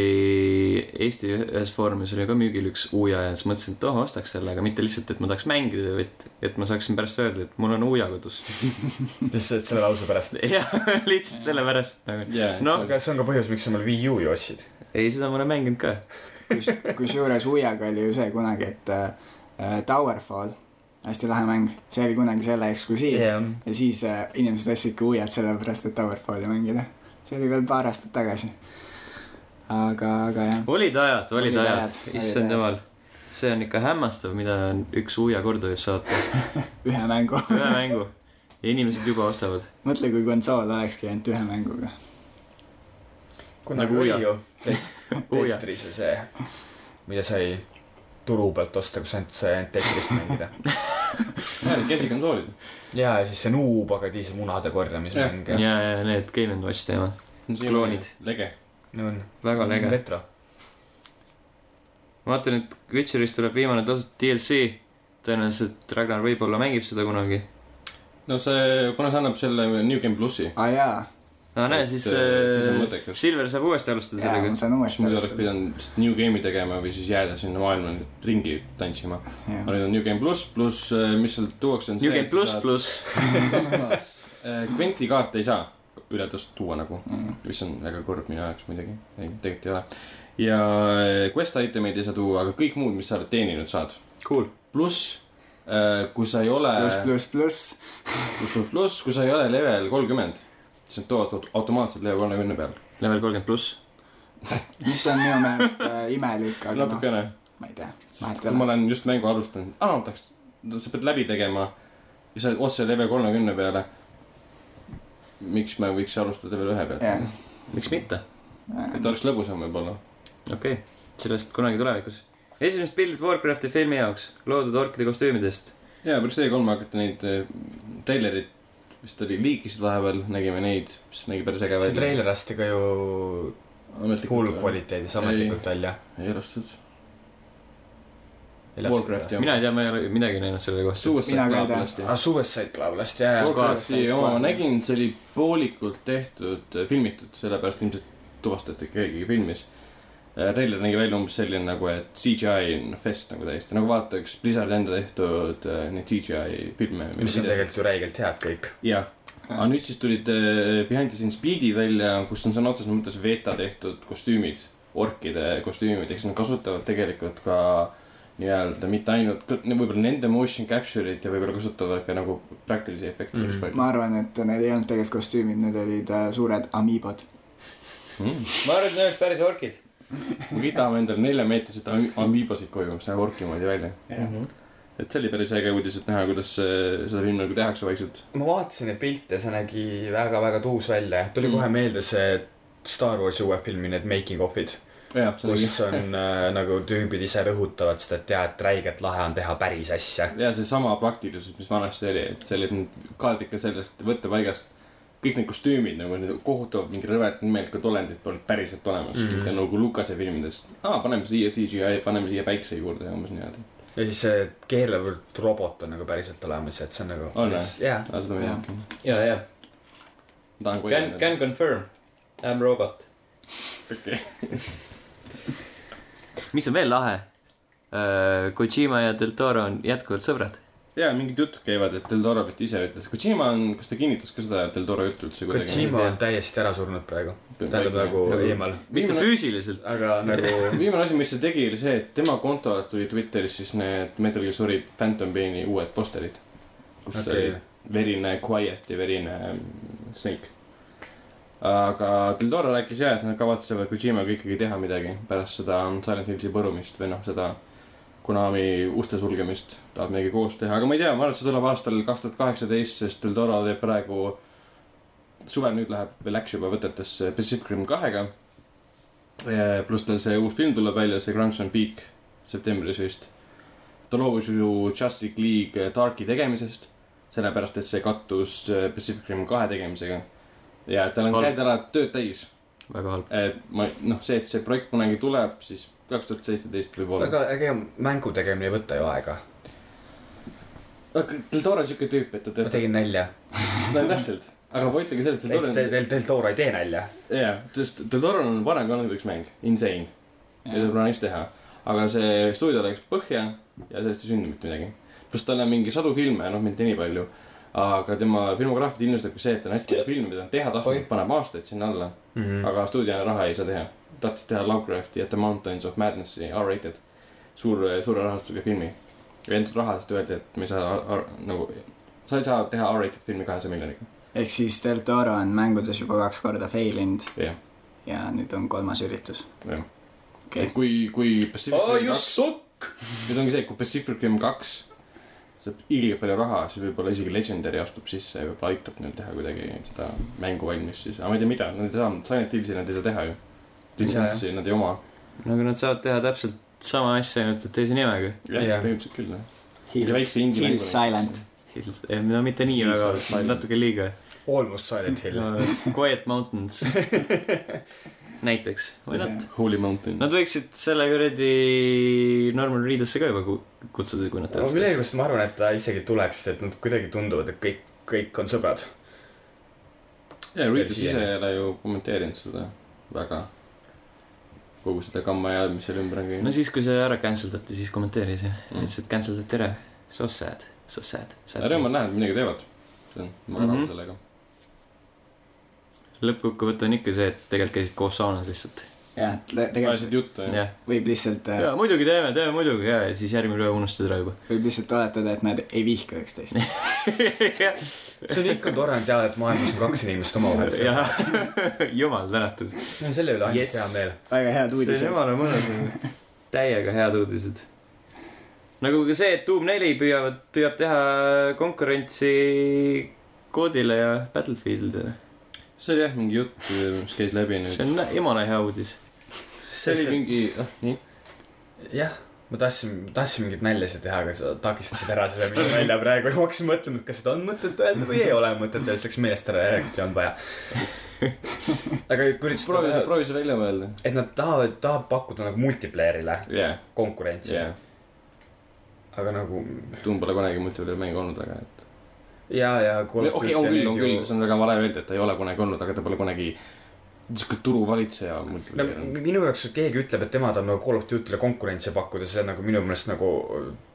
A: Eesti ühes foorumis oli ka müügil üks Uja ja siis mõtlesin , et oh , ostaks selle , aga mitte lihtsalt , et ma tahaks mängida , vaid et ma saaksin pärast öelda , et mul on Uja kodus . (laughs)
C: lihtsalt selle lause pärast .
A: jah , lihtsalt sellepärast nagu .
B: jaa
A: No.
C: aga see on ka põhjus , miks sa mul Wii U ju ostsid .
A: ei , seda ma olen mänginud ka .
D: kusjuures Uiaga oli ju see kunagi , et äh, Towerfall , hästi lahe mäng , see oli kunagi selle eksklusiiv yeah.
C: jah ,
D: ja siis äh, inimesed ostsidki Uiad sellepärast , et Towerfalli mängida . see oli veel paar aastat tagasi . aga , aga jah .
A: olid ajad , olid
D: Olid
A: ajad
D: ajad, , olid
A: issand
D: ajad.
A: jumal . see on ikka hämmastav , mida üks Uja korda võib saata ,
D: ühe mängu .
A: ühe mängu . ja inimesed juba ostavad .
D: mõtle , kui konsool olekski ainult ühe mänguga .
C: kunagi
A: Nagu
C: nagu oli
A: Uja.
C: ju
A: Uja.
C: Tetrise see , mida sai turu pealt osta , kus ainult sai ainult Tetrist mängida .
B: käsikonsoolid .
C: ja , ja siis see nuub , aga teise munade korjamise
B: Jah.
C: mäng
A: ja , ja need Game and Watch teemad , Kloonid. .
B: lege .
C: ja on
A: väga lege .
C: retro .
A: ma vaatan , et Witcherist tuleb viimane tasuta DLC . tõenäoliselt Ragnar võib-olla mängib seda kunagi .
B: no see , kuna see annab selle New Game plussi ,
D: aa Ah, jaa ,
A: aa , Ah, näe ,
B: Et,
A: siis
B: äh, siis on
A: äh,
B: mõttekas.
A: Silver saab uuesti alustada
D: jaa , ma
A: sellega .
D: saan
B: siis
D: uuesti
B: muidu oleks . pidanud lihtsalt New Game'i tegema või siis jääda sinna maailma nüüd ringi tantsima . aga nüüd on New Game pluss , pluss äh, mis seal tuuakse , on
A: New Game pluss
B: saad...
A: pluss .
B: pluss . Quenti kaarte Äh, ei saa üle tast tuua nagu , mis on väga kurb minu jaoks muidugi , ei tegelikult ei ole . ja äh, quest itemeid ei saa tuua , aga kõik muud , mis sa oled teeninud , saad .
A: Cool .
B: pluss äh, kui sa ei ole ,
D: pluss , pluss , pluss .
B: pluss , pluss , kui sa ei ole level kolmkümmend , siis nad toovad aut- automaatselt level kolmekümne peale .
A: level kolmkümmend pluss .
D: mis on minu meelest äh, imelik , aga noh ,
B: natukene
D: ma ei tea ,
B: sest
D: vahet
B: kui
D: ei
B: ma
D: ole .
B: olen just mängu alustanud , aa ma tahaks , sa pead läbi tegema ja sa oled otse level kolmekümne peale . miks ma ei võiks alustada level ühe pealt ,
D: jah ,
A: miks mitte ?
B: et oleks lõbusam võib-olla .
A: okei okay. , sellest kunagi tulevikus . esimesed pildid Warcrafti filmi jaoks , loodud orkide kostüümidest .
B: ja pärast E3-e hakati neid eh, treilerid vist oli , liikisid vahepeal , nägime neid , mis nägi päris äge
C: see
B: välja .
C: treiler lasti ka ju hullu . kvaliteedis ametlikult välja .
B: ei alustatud . Warcraft jah .
A: mina ei tea , ma ei ole midagi näinud selle kohta .
B: Suicide
D: Mina ka ei
B: Club
D: tea.
B: lasti .
C: aa , Ah, Suicide Club lasti ja , ja .
B: Warcrafti
D: Suicide
B: oma
D: Squad.
B: ma nägin , see oli poolikult tehtud , filmitud , sellepärast ilmselt tuvastati , et keegi filmis . Reiler nägi välja umbes selline nagu , et CGI on fest nagu täiesti , nagu vaataks Blizzardi enda tehtud äh, neid CGI filme .
C: mis on tegelikult ju räigelt head kõik .
B: jah , aga Ah, nüüd siis tulid äh, Behind the Scenes pildid välja , kus on sõna otseses mõttes veeta tehtud kostüümid , orkide kostüümid , ehk siis nad kasutavad tegelikult ka nii-öelda mitte ainult , võib-olla nende motion capture'it ja võib-olla kasutavad ka nagu praktilisi efekte
C: Mhm.
B: päris palju .
D: ma arvan , et need ei olnud tegelikult kostüümid , need olid äh, suured amiibod .
E: ma arvan , et need oleks päris orkid .
B: võtame Mm. endale neljameetriseid am- ambiibosid koju , mis näeb orki moodi välja . et see oli päris äge uudis , et näha , kuidas see- seda filmi nagu tehakse vaikselt .
C: ma vaatasin neid pilte , see nägi väga-väga tuus välja , tuli
B: Mm.
C: mm. kohe meelde see Star Warsi uue filmi need making of'id ,
B: jah , see oli (laughs)
C: kus on äh, nagu tüübid ise rõhutavad seda , et jaa , et räigelt lahe on teha päris asja .
B: ja seesama praktilisus , mis vanasti oli , et see oli nüüd kaadrika sellest võttepaigast . kõik need kostüümid nagu need kohutavad mingi rõvedad nimelikud olendid polnud päriselt olemas mm ,
C: Mhm.
B: -hmm. mitte nagu Lukase filmides . aa , paneme siia CGI , paneme siia päikse juurde ja umbes niimoodi .
C: ja siis see keelevõrd robot on nagu päriselt olemas , et see on nagu
B: On või?
C: jaa ,
B: aga seda ma ei
D: Jah.
B: teagi .
E: ja , ja .
B: ma
E: Can ,
B: tahan kohe
E: can . confirm . I m robot .
A: mis on veel lahe ? Kojima ja Del Toro on jätkuvalt sõbrad .
B: ja mingid jutud käivad , et Del Toro vist ise ütles , Kojima on , kas ta kinnitas ka seda Del Toro juttu üldse kuidagi ?
C: Kojima on täiesti ära surnud praegu , tähendab nagu eemal ,
A: mitte
B: Viimane-
A: füüsiliselt ,
C: aga nagu
B: viimane asi , (laughs) mis ta tegi , oli see , et tema kontole tuli Twitteris siis need Metal Gear Solid Phantom Paini uued posterid . kus okay.
C: okei
B: oli , verine Quiet ja verine ähm, Snake . aga Del Toro rääkis ja , et nad kavatsevad Kojimaga ikkagi teha midagi pärast seda Silent Hillsi põrumist või noh , seda Konami uste sulgemist tahab midagi koos teha , aga ma ei tea , ma arvan , et see tuleb aastal kaks tuhat kaheksateist , sest Del Toro teeb praegu , suvel nüüd läheb või läks juba võtetesse Pacific Rim kahega . pluss tal see uus film tuleb välja , see Crimson Peak septembris vist . ta loobus ju Justice League Darki tegemisest , sellepärast et see kattus äh, Pacific Rim kahe tegemisega . ja tal on
A: Halb.
B: käed ära tööd täis ,
A: väga halb .
B: et ma noh , see , et see projekt kunagi tuleb , siis kaks tuhat seitseteist võib-olla .
C: aga ega mängu tegemine ei võta ju aega ,
B: aga Del Toro on siuke tüüp , et ta
C: ma
B: teeb , (laughs)
C: tegin nalja ,
B: no täpselt , aga point ongi selles , et Del
C: Del ,
B: Toro on ,
C: Del , Del Toro ei tee nalja .
B: jaa , sest Del Toro on varem ka olnud üks mäng , Insane , ja seda pole naist teha . aga see stuudio läks põhja ja sellest ei sündinud mitte midagi . pluss tal on mingi sadu filme , noh mitte nii palju , aga tema filmograafide ilmestab ka see , et ta on hästi palju filme , mida ta on teha tahtnud
E: Oi. ,
B: paneb aastaid sinna alla ,
C: Mm.
B: aga stuudio raha ei saa teha . tahtis teha Lovecrafti ja The Mountains of Madnessi , R-rated , suur , suure rahastusega filmi . ja antud raha eest öeldi , et me ei saa ar- nagu , sa ei saa teha R-rated filmi kahesaja miljoniga .
D: ehk siis Del Toro on mängudes juba kaks korda fail inud
B: jah ,
D: ja nüüd on kolmas üritus .
B: jah .
D: okei okay. ,
B: kui , kui Pacific
E: Oh
B: Rim
E: you
B: kaks ,
E: suck .
B: nüüd ongi see , kui Pacific Rim kaks saab hiilgab palju raha , siis võib-olla isegi Legendary astub sisse ja võib-olla aitab neil teha kuidagi seda mängu valmis siis , aga ma ei tea , mida , nad ei saa , Silent Hillsi nad ei saa teha ju . litsentsi nad ei oma .
A: no aga nad saavad teha täpselt sama asja , ainult et teise nimega .
B: jah ,
C: Jah.
B: põhimõtteliselt küll , jah . Mingi
D: Hills ,
B: väikse indie mängu
D: Hills Silent .
A: Eh, no mitte nii väga , natuke liiga .
C: Almost Silent Hill .
A: Quiet (laughs) Mountains näiteks , või nad ,
B: Holy Mountain .
A: nad võiksid selle kuradi Norman Reedusse ka juba ku- kutsuda , kui nad
C: ma
A: tahavad seda .
C: millegipärast ma arvan , et ta isegi tuleks , sest et nad kuidagi tunduvad , et kõik , kõik on sõbrad .
B: ja Reedus
C: Siiani.
B: ise ei ole ju kommenteerinud seda väga . kogu seda gamma ja mis seal ümber on
A: no
B: käinud .
A: siis , kui see ära cancel dati , siis kommenteeris jah ,
B: Mm.
A: ütles , et cancel dati ära . So sad , so sad , sad .
B: rõõm on näha , et midagi teevad . see on , ma olen
A: Mhm.
B: rahul sellega .
A: lõppkokkuvõte on ikka see , et tegelikult käisid koos saunas lihtsalt .
D: jah , tegelikult
B: ajasid juttu ja, ja. .
A: jah ,
D: võib lihtsalt , äh,
A: ja muidugi teeme , teeme muidugi ja , ja siis järgmine päev unustad ära juba .
D: võib lihtsalt oletada , et nad ei vihka üksteist .
C: see on ikka tore on teada , et maailmas on kaks inimest omavahel
B: (laughs)
C: sõbrad .
A: jah , (laughs) jumal tänatud .
C: mul on selle üle ainult
A: Yes.
C: yes. hea meel .
D: väga head
A: see on
D: uudised .
A: jumala mõnus , täiega head uudised . nagu ka see , et Doom neli püüavad , püüab teha konkurentsi koodile ja Battlefieldile .
B: see oli jah mingi jutt , mis käis läbi nüüd .
A: see on jumala hea uudis .
B: see oli mingi , ah nii .
C: jah , ma tahtsin , tahtsin mingeid naljasid teha , aga sa takistasid ära selle minu välja praegu ja ma hakkasin mõtlema , et kas seda on mõtet öelda või ei ole mõtet ja siis läks meelest ära , järelikult ei olnud vaja . aga kui
B: proovi see ,
C: nüüd ,
B: proovi see välja mõelda .
C: et nad tahavad , tahab pakkuda nagu multiplayer'ile
B: jah ,
C: konkurentsi
B: jah .
C: aga nagu
B: Doom pole kunagi multiplayer mäng olnud , aga et .
C: ja , ja .
B: okei , on küll ,
C: nagu
B: on küll , see on väga vale öelda , et ta ei ole kunagi olnud , aga ta pole kunagi siuke turuvalitseja
C: no
B: multiplayer olnud .
C: minu jaoks , kui keegi ütleb , et tema tahab nagu Call of Duty'le konkurentsi pakkuda , see nagu minu meelest nagu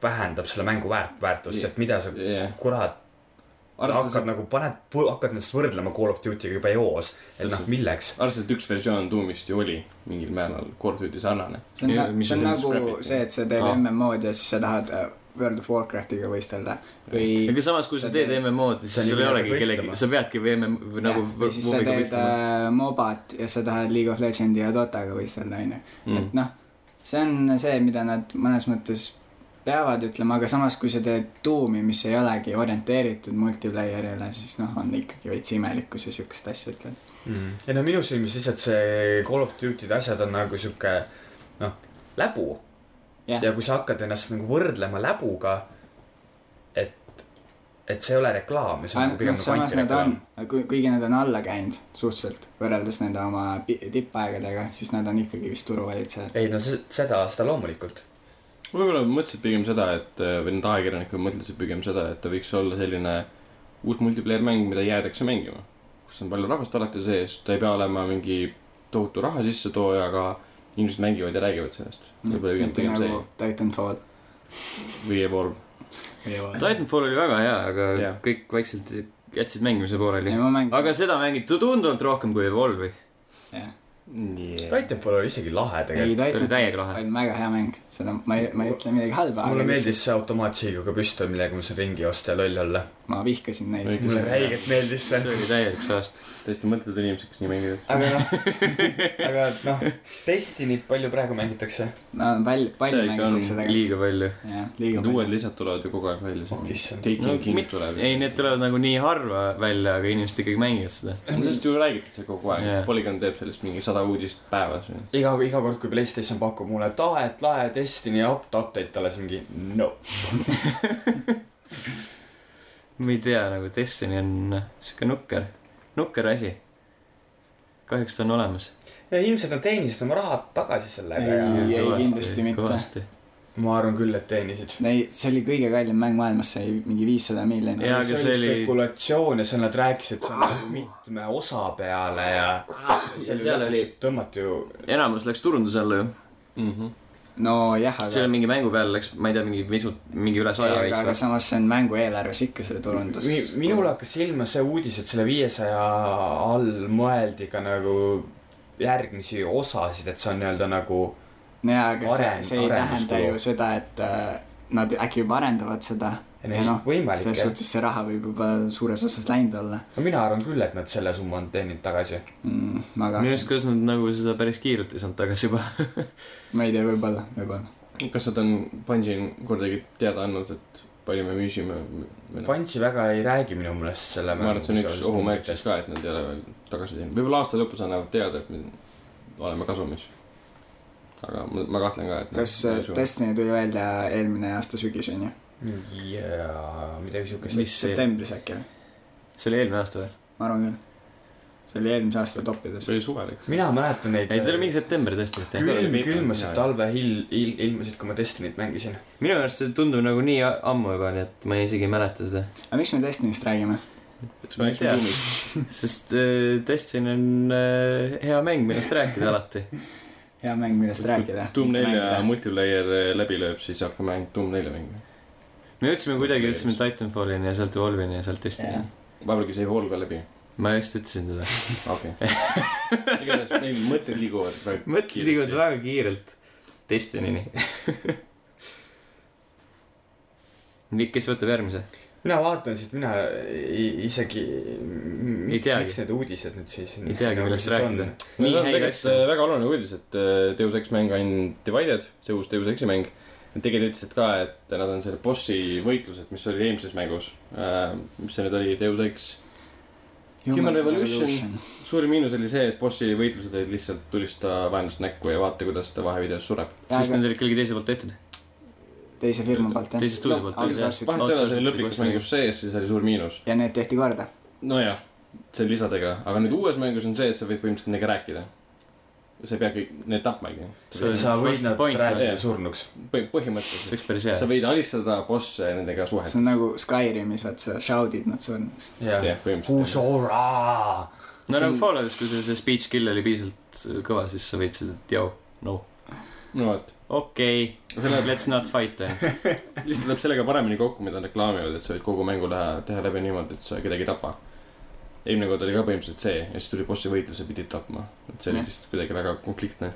C: vähendab selle mängu väärt , väärtust , et mida sa
B: jah ,
C: kurat ,
B: arvestades ,
C: hakkad nagu paned , hakkad ennast võrdlema Call of Duty'ga juba eos , et noh ,
B: Täpselt.
C: milleks .
B: arvestades , et üks versioon Doomist ju oli mingil määral Call of Duty sarnane .
D: see on,
A: Ja,
D: na-
A: mis
D: see on
A: asi on
D: nagu
B: scrap'id?
D: see , et sa teed
A: Aa.
D: MM-od ja siis sa tahad äh, World of Warcraftiga võistelda või
A: aga samas , kui sa
D: sa
A: teed
D: teed-
A: MMO-d , siis
C: sa
A: sul ei
C: nii-öelda
A: olegi kellegi
C: võistlema. ,
A: sa peadki VM või nagu
D: Jah, või siis sa
A: muumiga
D: teed
A: võistlema .
D: äh, mobat ja sa tahad League of Legendi ja Dotaga võistelda , onju .
A: Mm.
B: Mm.
D: et noh , see on see , mida nad mõnes mõttes peavad ütlema , aga samas , kui sa teed tuumi , mis ei olegi orienteeritud multiplayer'ile , siis noh , on ikkagi veits imelik , kui sa siukest asja ütled .
C: mm. . ei no minu silmis lihtsalt see Call of Duty'd asjad on nagu sihuke noh , läbu
D: Jah.
C: ja kui sa hakkad ennast nagu võrdlema läbuga , et , et see ei ole reklaam , see on nagu pigem nagu
D: noh, samas nad on
C: antireklaam .,
D: kuigi nad on alla käinud suhteliselt võrreldes nende oma pi- tippaegadega , siis nad on ikkagi vist turuvalitsejad .
C: ei no se- seda , seda loomulikult .
B: võib-olla mõtlesid pigem seda , et või need ajakirjanikud mõtlesid pigem seda , et ta võiks olla selline uus multiplayer mäng , mida jäädakse mängima , kus on palju rahvast alati sees , ta ei pea olema mingi tohutu raha sissetooja , aga inimesed mängivad ja räägivad sellest .
A: Mm.
B: võib-olla pigem
D: mitte
B: pigem
D: nagu Titanfall .
B: see või Evolve .
D: äh,
A: Titanfall oli väga hea , aga
B: Jah.
A: kõik vaikselt jätsid mängimise pooleli .
D: ma mängisin
A: aga seda mängiti tunduvalt rohkem kui Evolve'i .
D: jah.
C: Titanfall oli isegi lahe
D: ei ,
C: tegelikult .
A: see oli
D: Titanfall
A: täiega lahe .
D: on väga hea mäng , seda ma ei , ma ei ütle midagi halba ,
C: mulle
D: aga lihtsalt
C: meeldis see automaatsiigiga püstol , millega ma saan ringi joosta ja loll olla .
D: ma vihkasin neid .
B: Õige.
C: mulle räigelt meeldis
A: see
C: see .
A: oli täielik saast .
B: täiesti mõtletud inimesed , kes nii mängivad .
C: aga
A: (laughs)
C: noh , aga noh , Destiny't palju praegu mängitakse ?
D: no palju , palju
B: See ikka on
D: mängitakse tegelikult .
A: liiga palju .
D: jah , liiga
B: Need
D: palju .
B: uued lisad tulevad ju kogu aeg välja .
C: Oh, issand.
A: No,
B: Taking King
A: mit-
B: tuleb .
A: ei , need tulevad nagu nii harva välja , aga inimesed ikkagi mängivad seda .
B: sellest ju räägitakse kogu aeg
A: Jah.
B: yeah. , Polygon teeb sellest mingi sada uudist päevas .
C: iga , iga kord , kui Playstation pakub mulle , et aa , et lahe Destiny up- update alles mingi no .
A: ma ei tea , nagu Destiny on siuke nukker , nukker asi . kahjuks ta on olemas .
C: ja ilmselt nad teenisid oma rahad tagasi sellega
D: Ei,
C: ja .
D: ei, kindlasti mitte.
A: kõvasti .
C: ma arvan küll , et teenisid .
D: ei , see oli kõige kallim mäng maailmas , sai mingi viissada miljonit .
A: Jaa, aga see oli-
C: spekulatsioon ja seal nad rääkisid seal nagu mitme osa peale ja .
A: Ah, seal oli- .
C: tõmmati ju .
A: enamus läks turunduse alla ju .
D: Mhm. nojah ,
A: seal
D: aga ,
A: mingi mängu peale läks , ma ei tea , mingi pisut , mingi üle saja
D: aga, aga
A: veits .
D: samas see on mängu eelarves ikka see turundus .
C: minul hakkas silma see uudis , et selle viiesaja all mõeldi ka nagu järgmisi osasid , et see on nii-öelda nagu
D: jaa , aga see ,
C: areng-
D: see ei tähenda
C: arenduskulu.
D: ju seda , et äh, nad äkki juba arendavad seda .
C: ei,
D: noh,
C: võimalik
D: selles
C: jah .
D: suhtes see raha võib juba suures osas läinud olla
C: no mina arvan küll , et nad selle summa on teeninud tagasi .
D: mm, . ma
A: minu arust ,
D: kahtlen ,
A: kuidas nad nagu seda päris kiirelt ei saanud tagasi juba .
D: ma ei tea , võib-olla , võib-olla .
B: kas nad on Bungi'l kordagi teada andnud , et palju me müüsime ? ma
C: Punchi väga ei räägi minu meelest selle
B: arvan , et see on üks ohumärk siis ka , et nad ei ole veel tagasi teinud . võib-olla aasta lõpus annavad teada , et me oleme kasumis . aga ma, ma kahtlen ka , et nad
D: kas
B: ei
D: äh,
B: suuda.
D: Destiny tuli välja eelmine aasta sügis onju ?
C: jaa , midagi siukest .
A: mis see ,
D: septembris äkki või ?
A: see oli eelmine aasta või ?
D: ma arvan küll . see oli eelmise aasta toppides .
B: see oli suvel ikka .
C: mina mäletan neid äh,
A: ei , ta oli mingi septembri tõesti vist jah .
C: külm ,
B: Peeter-
C: külmasid
B: jaa.
C: talvehill , ilmasid , kui ma Destiny't mängisin .
A: minu arust see tundub nagu nii a- ammu juba , nii et ma isegi ei mäleta
D: (laughs)
A: seda .
D: aga miks me Destiny'st räägime ?
B: kas me läksime
A: Jaa.
B: ruumis ?
A: sest äh, Destiny on äh, hea mäng , millest rääkida alati .
D: hea mäng , millest rääkida .
B: Doom nelja . multiplayer äh, läbi lööb , siis hakkame ainult Doom nelja mängima .
A: me jõudsime kuidagi , jõudsime Titanfallini ja sealt Evolve'ini ja sealt Destiny'ni
D: Jah.
A: yeah. .
B: vahepeal käis Evolve ka läbi .
A: ma just ütlesin seda .
B: okei okay. . igatahes neil mõtted liiguvad väga
A: mõtled ikka väga kiirelt Destiny'ni . (laughs) Mikk , kes võtab järgmise ?
C: mina vaatan siit , mina ei- isegi .
A: Ei teagi.
C: miks need uudised nüüd siis .
A: Ei teagi, millest rääkida.
B: no
A: nii
B: see on
A: häid
B: tegelikult
A: asju .
B: äh, väga oluline uudis , et äh, Deus Ex mäng on Divided , see uus Deus Exi mäng . Nad tegelikult ütlesid ka , et nad on selle bossi võitlused , mis oli eelmises mängus . mis see nüüd oli , Deus Ex . Human Revolution. suurim miinus oli see , et bossi võitlused olid lihtsalt tulista vaenlast näkku ja vaata , kuidas ta vahevideos sureb .
A: sest need olid kellegi teise poolt tehtud ,
D: teise firma poolt jah .
A: teise
B: Noh,
A: stuudio poolt
D: Outsourcing.
A: tehtud jah .
B: vahet ei ole , see oli lõplikus mängus sees ja see oli suur miinus .
D: ja need tehti korda .
B: nojah , see on lisadega , aga nüüd uues mängus on see , et sa võid põhimõtteliselt nendega rääkida . sa ei pea kõik neid tapmagi .
A: See-
C: sa võid
A: What's the
C: nad
A: point?
C: rääkida
B: Jaa.
C: surnuks .
A: see
B: põhimõtteliselt ,
A: oleks päris
B: sa
A: hea .
B: võid alistada bosse ja nendega
D: see
B: suhelda .
D: on nagu Skyrimis , vaat sa shout'id nad surnuks .
C: jah .
B: jah , põhimõtteliselt .
C: Kusora .
A: no nagu Falloutis , kui sul see speech kill oli piisavalt äh, kõva , siis sa võid seda , et joo , no
B: no vot ,
A: okei okay, , let's not fight then .
B: lihtsalt läheb sellega paremini kokku , mida reklaamivad , et sa võid kogu mängu lähe- teha läbi niimoodi , et sa kedagi ei tapa . eelmine kord oli ka põhimõtteliselt see ja siis tuli bossi võitlus ja pidid tapma . et see oli
D: Jah.
B: lihtsalt kuidagi väga konfliktne .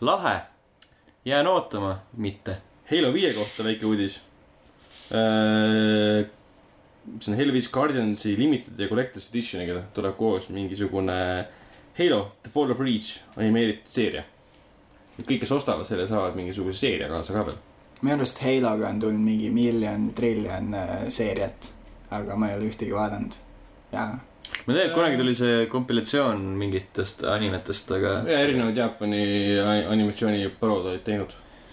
A: lahe , jään ootama , mitte .
B: Halo viie kohta väike uudis . see on Halo viis Guardiansi Limited ja Collector's Editioniga tuleb koos mingisugune Halo The Fall of Reach animeeritud seeria . kõik , kes ostavad selle , saavad mingisuguse seeria kaasa ka veel .
D: minu arust Haloga on tulnud mingi miljon , triljon äh, seeriat , aga ma ei ole ühtegi vaadanud . jaa ,
A: ma tean , et kunagi tuli see kompilatsioon mingitest animetest , aga
B: ja erinevad Jaapani ani- animatsiooniparood olid teinud .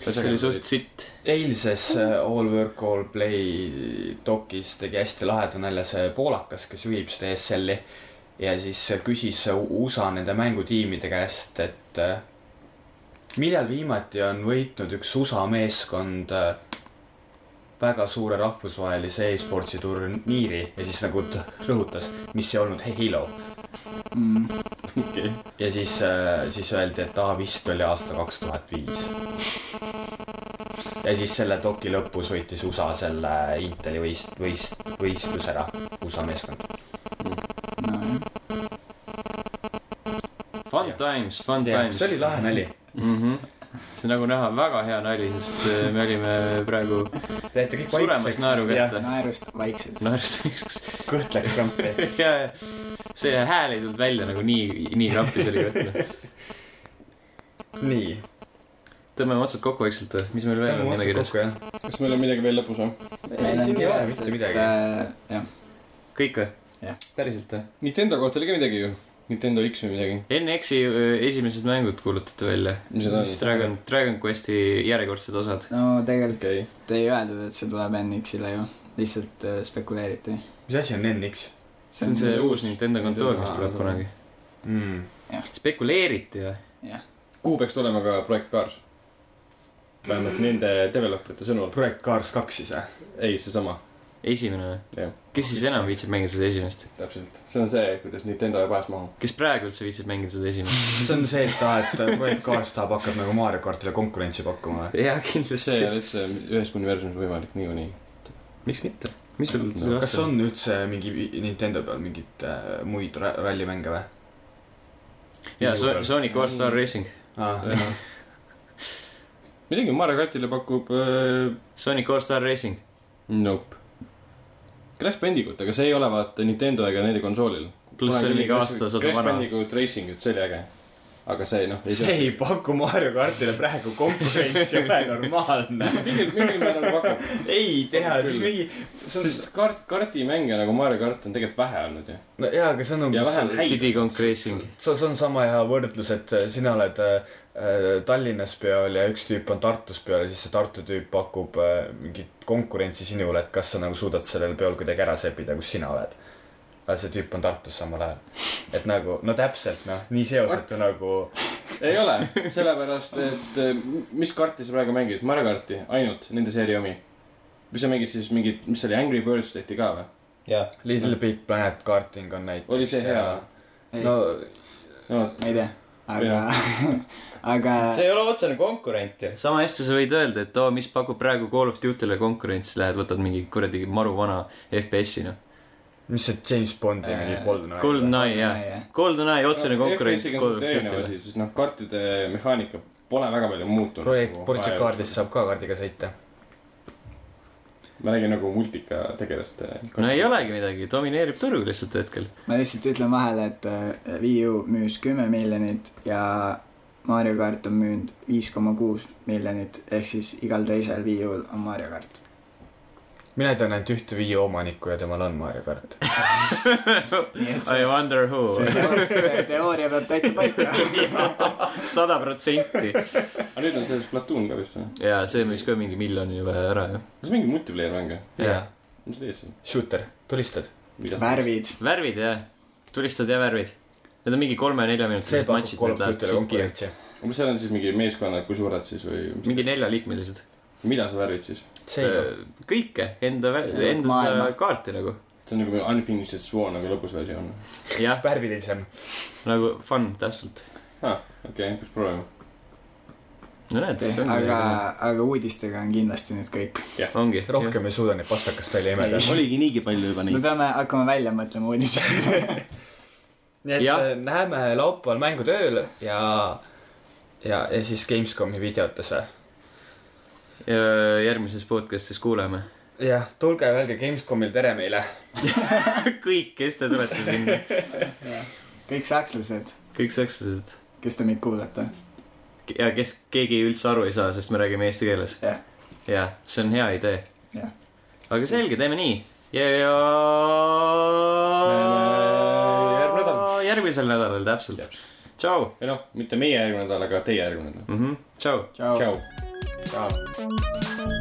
A: see oli suht sitt .
C: eilses äh, All Work All Play dokis tegi hästi laheda nalja see poolakas , kes juhib seda ESL-i ja siis küsis USA nende mängutiimide käest , et äh, millal viimati on võitnud üks USA meeskond äh, väga suure rahvusvahelise e-sportsi turniiri ja siis nagu ta rõhutas , mis ei olnud Halo
D: mm,
B: okei .
C: ja siis , siis öeldi , et aa vist oli aasta kaks tuhat viis . ja siis selle doki lõpus võitis USA selle Inteli võist- , võist- , võistluse ära , USA meeskond .
D: nojah .
A: Fun
C: Jah.
A: times , fun times
C: see . oli lahe nali ,
A: mhmh , see nagu näha , väga hea nali , sest äh, me olime praegu
C: jäite kõik
A: suremas naeru
C: ja
A: kätte .
D: naerust vaikselt .
A: naeruseks ,
C: kõht läks krampi .
A: ja , ja see hääl ei tulnud välja nagu nii , nii krampis oli kätte .
C: nii ,
A: tõmbame otsad kokku vaikselt või , mis meil veel
C: tõmbame
A: on
C: otsad
A: nimekirjas
C: kokku ? jah .
B: kas meil on midagi veel lõpus või ?
C: ei , siin ei ole mitte midagi .
D: äh, jah ,
A: kõik või
D: Jah. ?
A: päriselt või ?
B: Nintendo kohta oli ka midagi ju . Nintendo X või midagi .
A: NX-i öö, äh, esimesed mängud kuulutati välja .
B: mis need
A: mis
B: on ?
A: Dragon , Dragon Questi järjekordsed osad .
D: no tegelikult
B: okei .
D: ei öeldud , et see tuleb NX-ile ju , lihtsalt äh, spekuleeriti .
C: mis asi on NX
A: see on see uus Nintendo kontoor , mis tuleb
B: Aa.
A: kunagi .
C: mm. ?
A: spekuleeriti või ?
B: kuhu peaks tulema ka projekt Cars ? vähemalt nende developerite sõnul .
C: projekt Cars kaks siis või ?
B: ei , seesama ,
A: esimene või
B: Jah. ?
A: kes siis enam viitsib mängida seda esimest ?
B: täpselt . see on see , kuidas Nintendo jääb ajas maha .
A: kes praegu üldse viitsib mängida seda esimest ?
C: see on see , et aa , et projekt Cars tahab , hakkab nagu Mario kartile konkurentsi pakkuma või ?
A: (laughs) jaa ,
B: see ei
A: kindlasti .
B: ole üldse ühes universumis võimalik niikuinii .
A: miks mitte ? mis sul
B: No,
A: selle
C: kas
A: vastu on ?
C: on üldse mingi Nintendo peal mingeid äh, muid ra- rallimänge või ?
A: jaa , Sonic All
E: Mm.
A: Star Racing .
B: (laughs)
C: ah, .
B: midagi Mario kartile pakub äh,
A: Sonic All Star Racing .
B: Nope . Crash Bandicoot , aga see ei ole vaata Nintendo ega nende konsoolil .
A: pluss see oli mingi aastasada
B: Crash
A: vana .
B: Bandicoot Racing , et see oli äge . aga see noh ,
C: see ei paku Mario kartile praegu konkurentsi , ole normaalne .
B: (laughs) mingil , mingil
A: (laughs)
B: määral pakub .
C: ei tea , siis mingi , see on ,
B: sest kart , kartimänge nagu Mario kart on tegelikult vähe olnud ju .
C: no jaa , aga see on
B: Ja vähe on
C: umbes ,
B: häid-
A: Diddy Kong Racing .
C: see see on sama hea võrdlus , et äh, sina oled äh, äh, Tallinnas peal ja üks tüüp on Tartus peal ja siis see Tartu tüüp pakub äh, mingit konkurentsi sinule , et kas sa nagu suudad sellel peol kuidagi ära seppida , kus sina oled . aga see tüüp on Tartus samal ajal . et nagu , no täpselt noh , nii seosetu nagu
B: ei ole , sellepärast et eh, mis karti sa praegu mängid , Mario karti , ainult nende seeria omi . või sa mängid siis mingit , mis see oli , Angry Birds tehti ka või ?
E: jaa .
C: Little Big Planet karting on näiteks .
B: oli see hea ??
D: ei
C: no
D: no. ,
B: no vot ,
D: ma ei tea , aga , (laughs) aga
E: see ei ole otsene konkurent ju .
A: sama hästi sa võid öelda , et oo , mis pakub praegu Call of Duty'le konkurentsi , lähed võtad mingi kuradi maruvana FPS-i noh .
C: mis see James Bondi
D: Äh,
C: mingi Golden Eye ?
A: GoldenEye jah . GoldenEye otsene
B: Noh,
A: konkurent Call of Duty'le .
B: sest noh , kartide mehaanika pole väga palju muutunud . nagu
C: projekt Porsche kaardist . saab ka kaardiga sõita .
B: ma räägin nagu multika eh, tegelaste .
A: no ei . olegi midagi , domineerib turgu lihtsalt
E: (laughs)
A: hetkel .
D: ma lihtsalt ütlen vahele , et äh, Wii U müüs kümme miljonit ja Mario kart on müünud viis koma kuus miljonit , ehk siis igal teisel Wii U-l on Mario kart .
C: mina tean ainult ühte Wii omanikku ja temal on Mario kart .
D: nii et
A: I
D: see ,
A: wonder who .
D: see, see teooria peab täitsa
A: (laughs)
D: paika .
A: sada protsenti .
B: aga Ah, nüüd on see Splatoon ka vist või ?
A: ja see müüs ka mingi miljoni juba ära ju .
B: kas mingi multiplayer mäng või ?
A: jah ,
B: mis sa teed seal ?
C: Shooter , tulistad .
D: värvid ,
A: värvid jah , tulistad ja värvid . Need on mingi kolme-nelja
C: see
A: minutilised
C: pakub
A: matšid ,
C: Call
A: need
C: of
A: lähevad
C: Duty'le
A: siuke .
C: konkurentsi .
B: umbes seal on siis mingi meeskonnad , kui suured siis või
A: mingi neljaliikmelised .
B: mida sa värvid siis ?
C: see ,
A: kõike enda ,
D: Ja,
A: enda seda
D: maailma.
A: kaarti nagu .
B: see on nagu Unfinished Swan nagu lõbus versioon .
A: jah ,
C: Äh, värvilisem .
A: nagu fun , täpselt .
B: okei okay, , peaks proovima .
A: no näed , see ongi
D: aga , aga uudistega on kindlasti nüüd kõik .
A: ongi .
C: rohkem ei suuda neid pastakast välja imeda .
B: oligi niigi palju juba
D: me . peame hakkama välja mõtlema uudiseid .
C: nii et
A: Jah.
C: äh, näeme laupäeval mängutööl ja , ja , ja siis Gamescomi videotes või ?
A: ja järgmises podcastis kuuleme (laughs)
C: jah , tulge öelge Gamescomil tere meile .
A: kõik , kes te tulete sinna ,
D: (laughs) kõik sakslased ,
A: kõik sakslased
D: kes te meid kuulate .
A: ja kes keegi üldse aru ei saa , sest me räägime eesti keeles
D: Jah. .
A: ja see on hea idee
D: Jah. .
A: aga selge , teeme nii ja , ja .
B: Näeme järgmine nädal.
A: järgmisel nädalal täpselt . tšau Mhm,
B: ei Mm. noh , mitte meie järgmine nädal , aga teie järgmine nädal .
A: mm . -hmm. tšau .
D: tšau .
B: tšau .
D: tšau .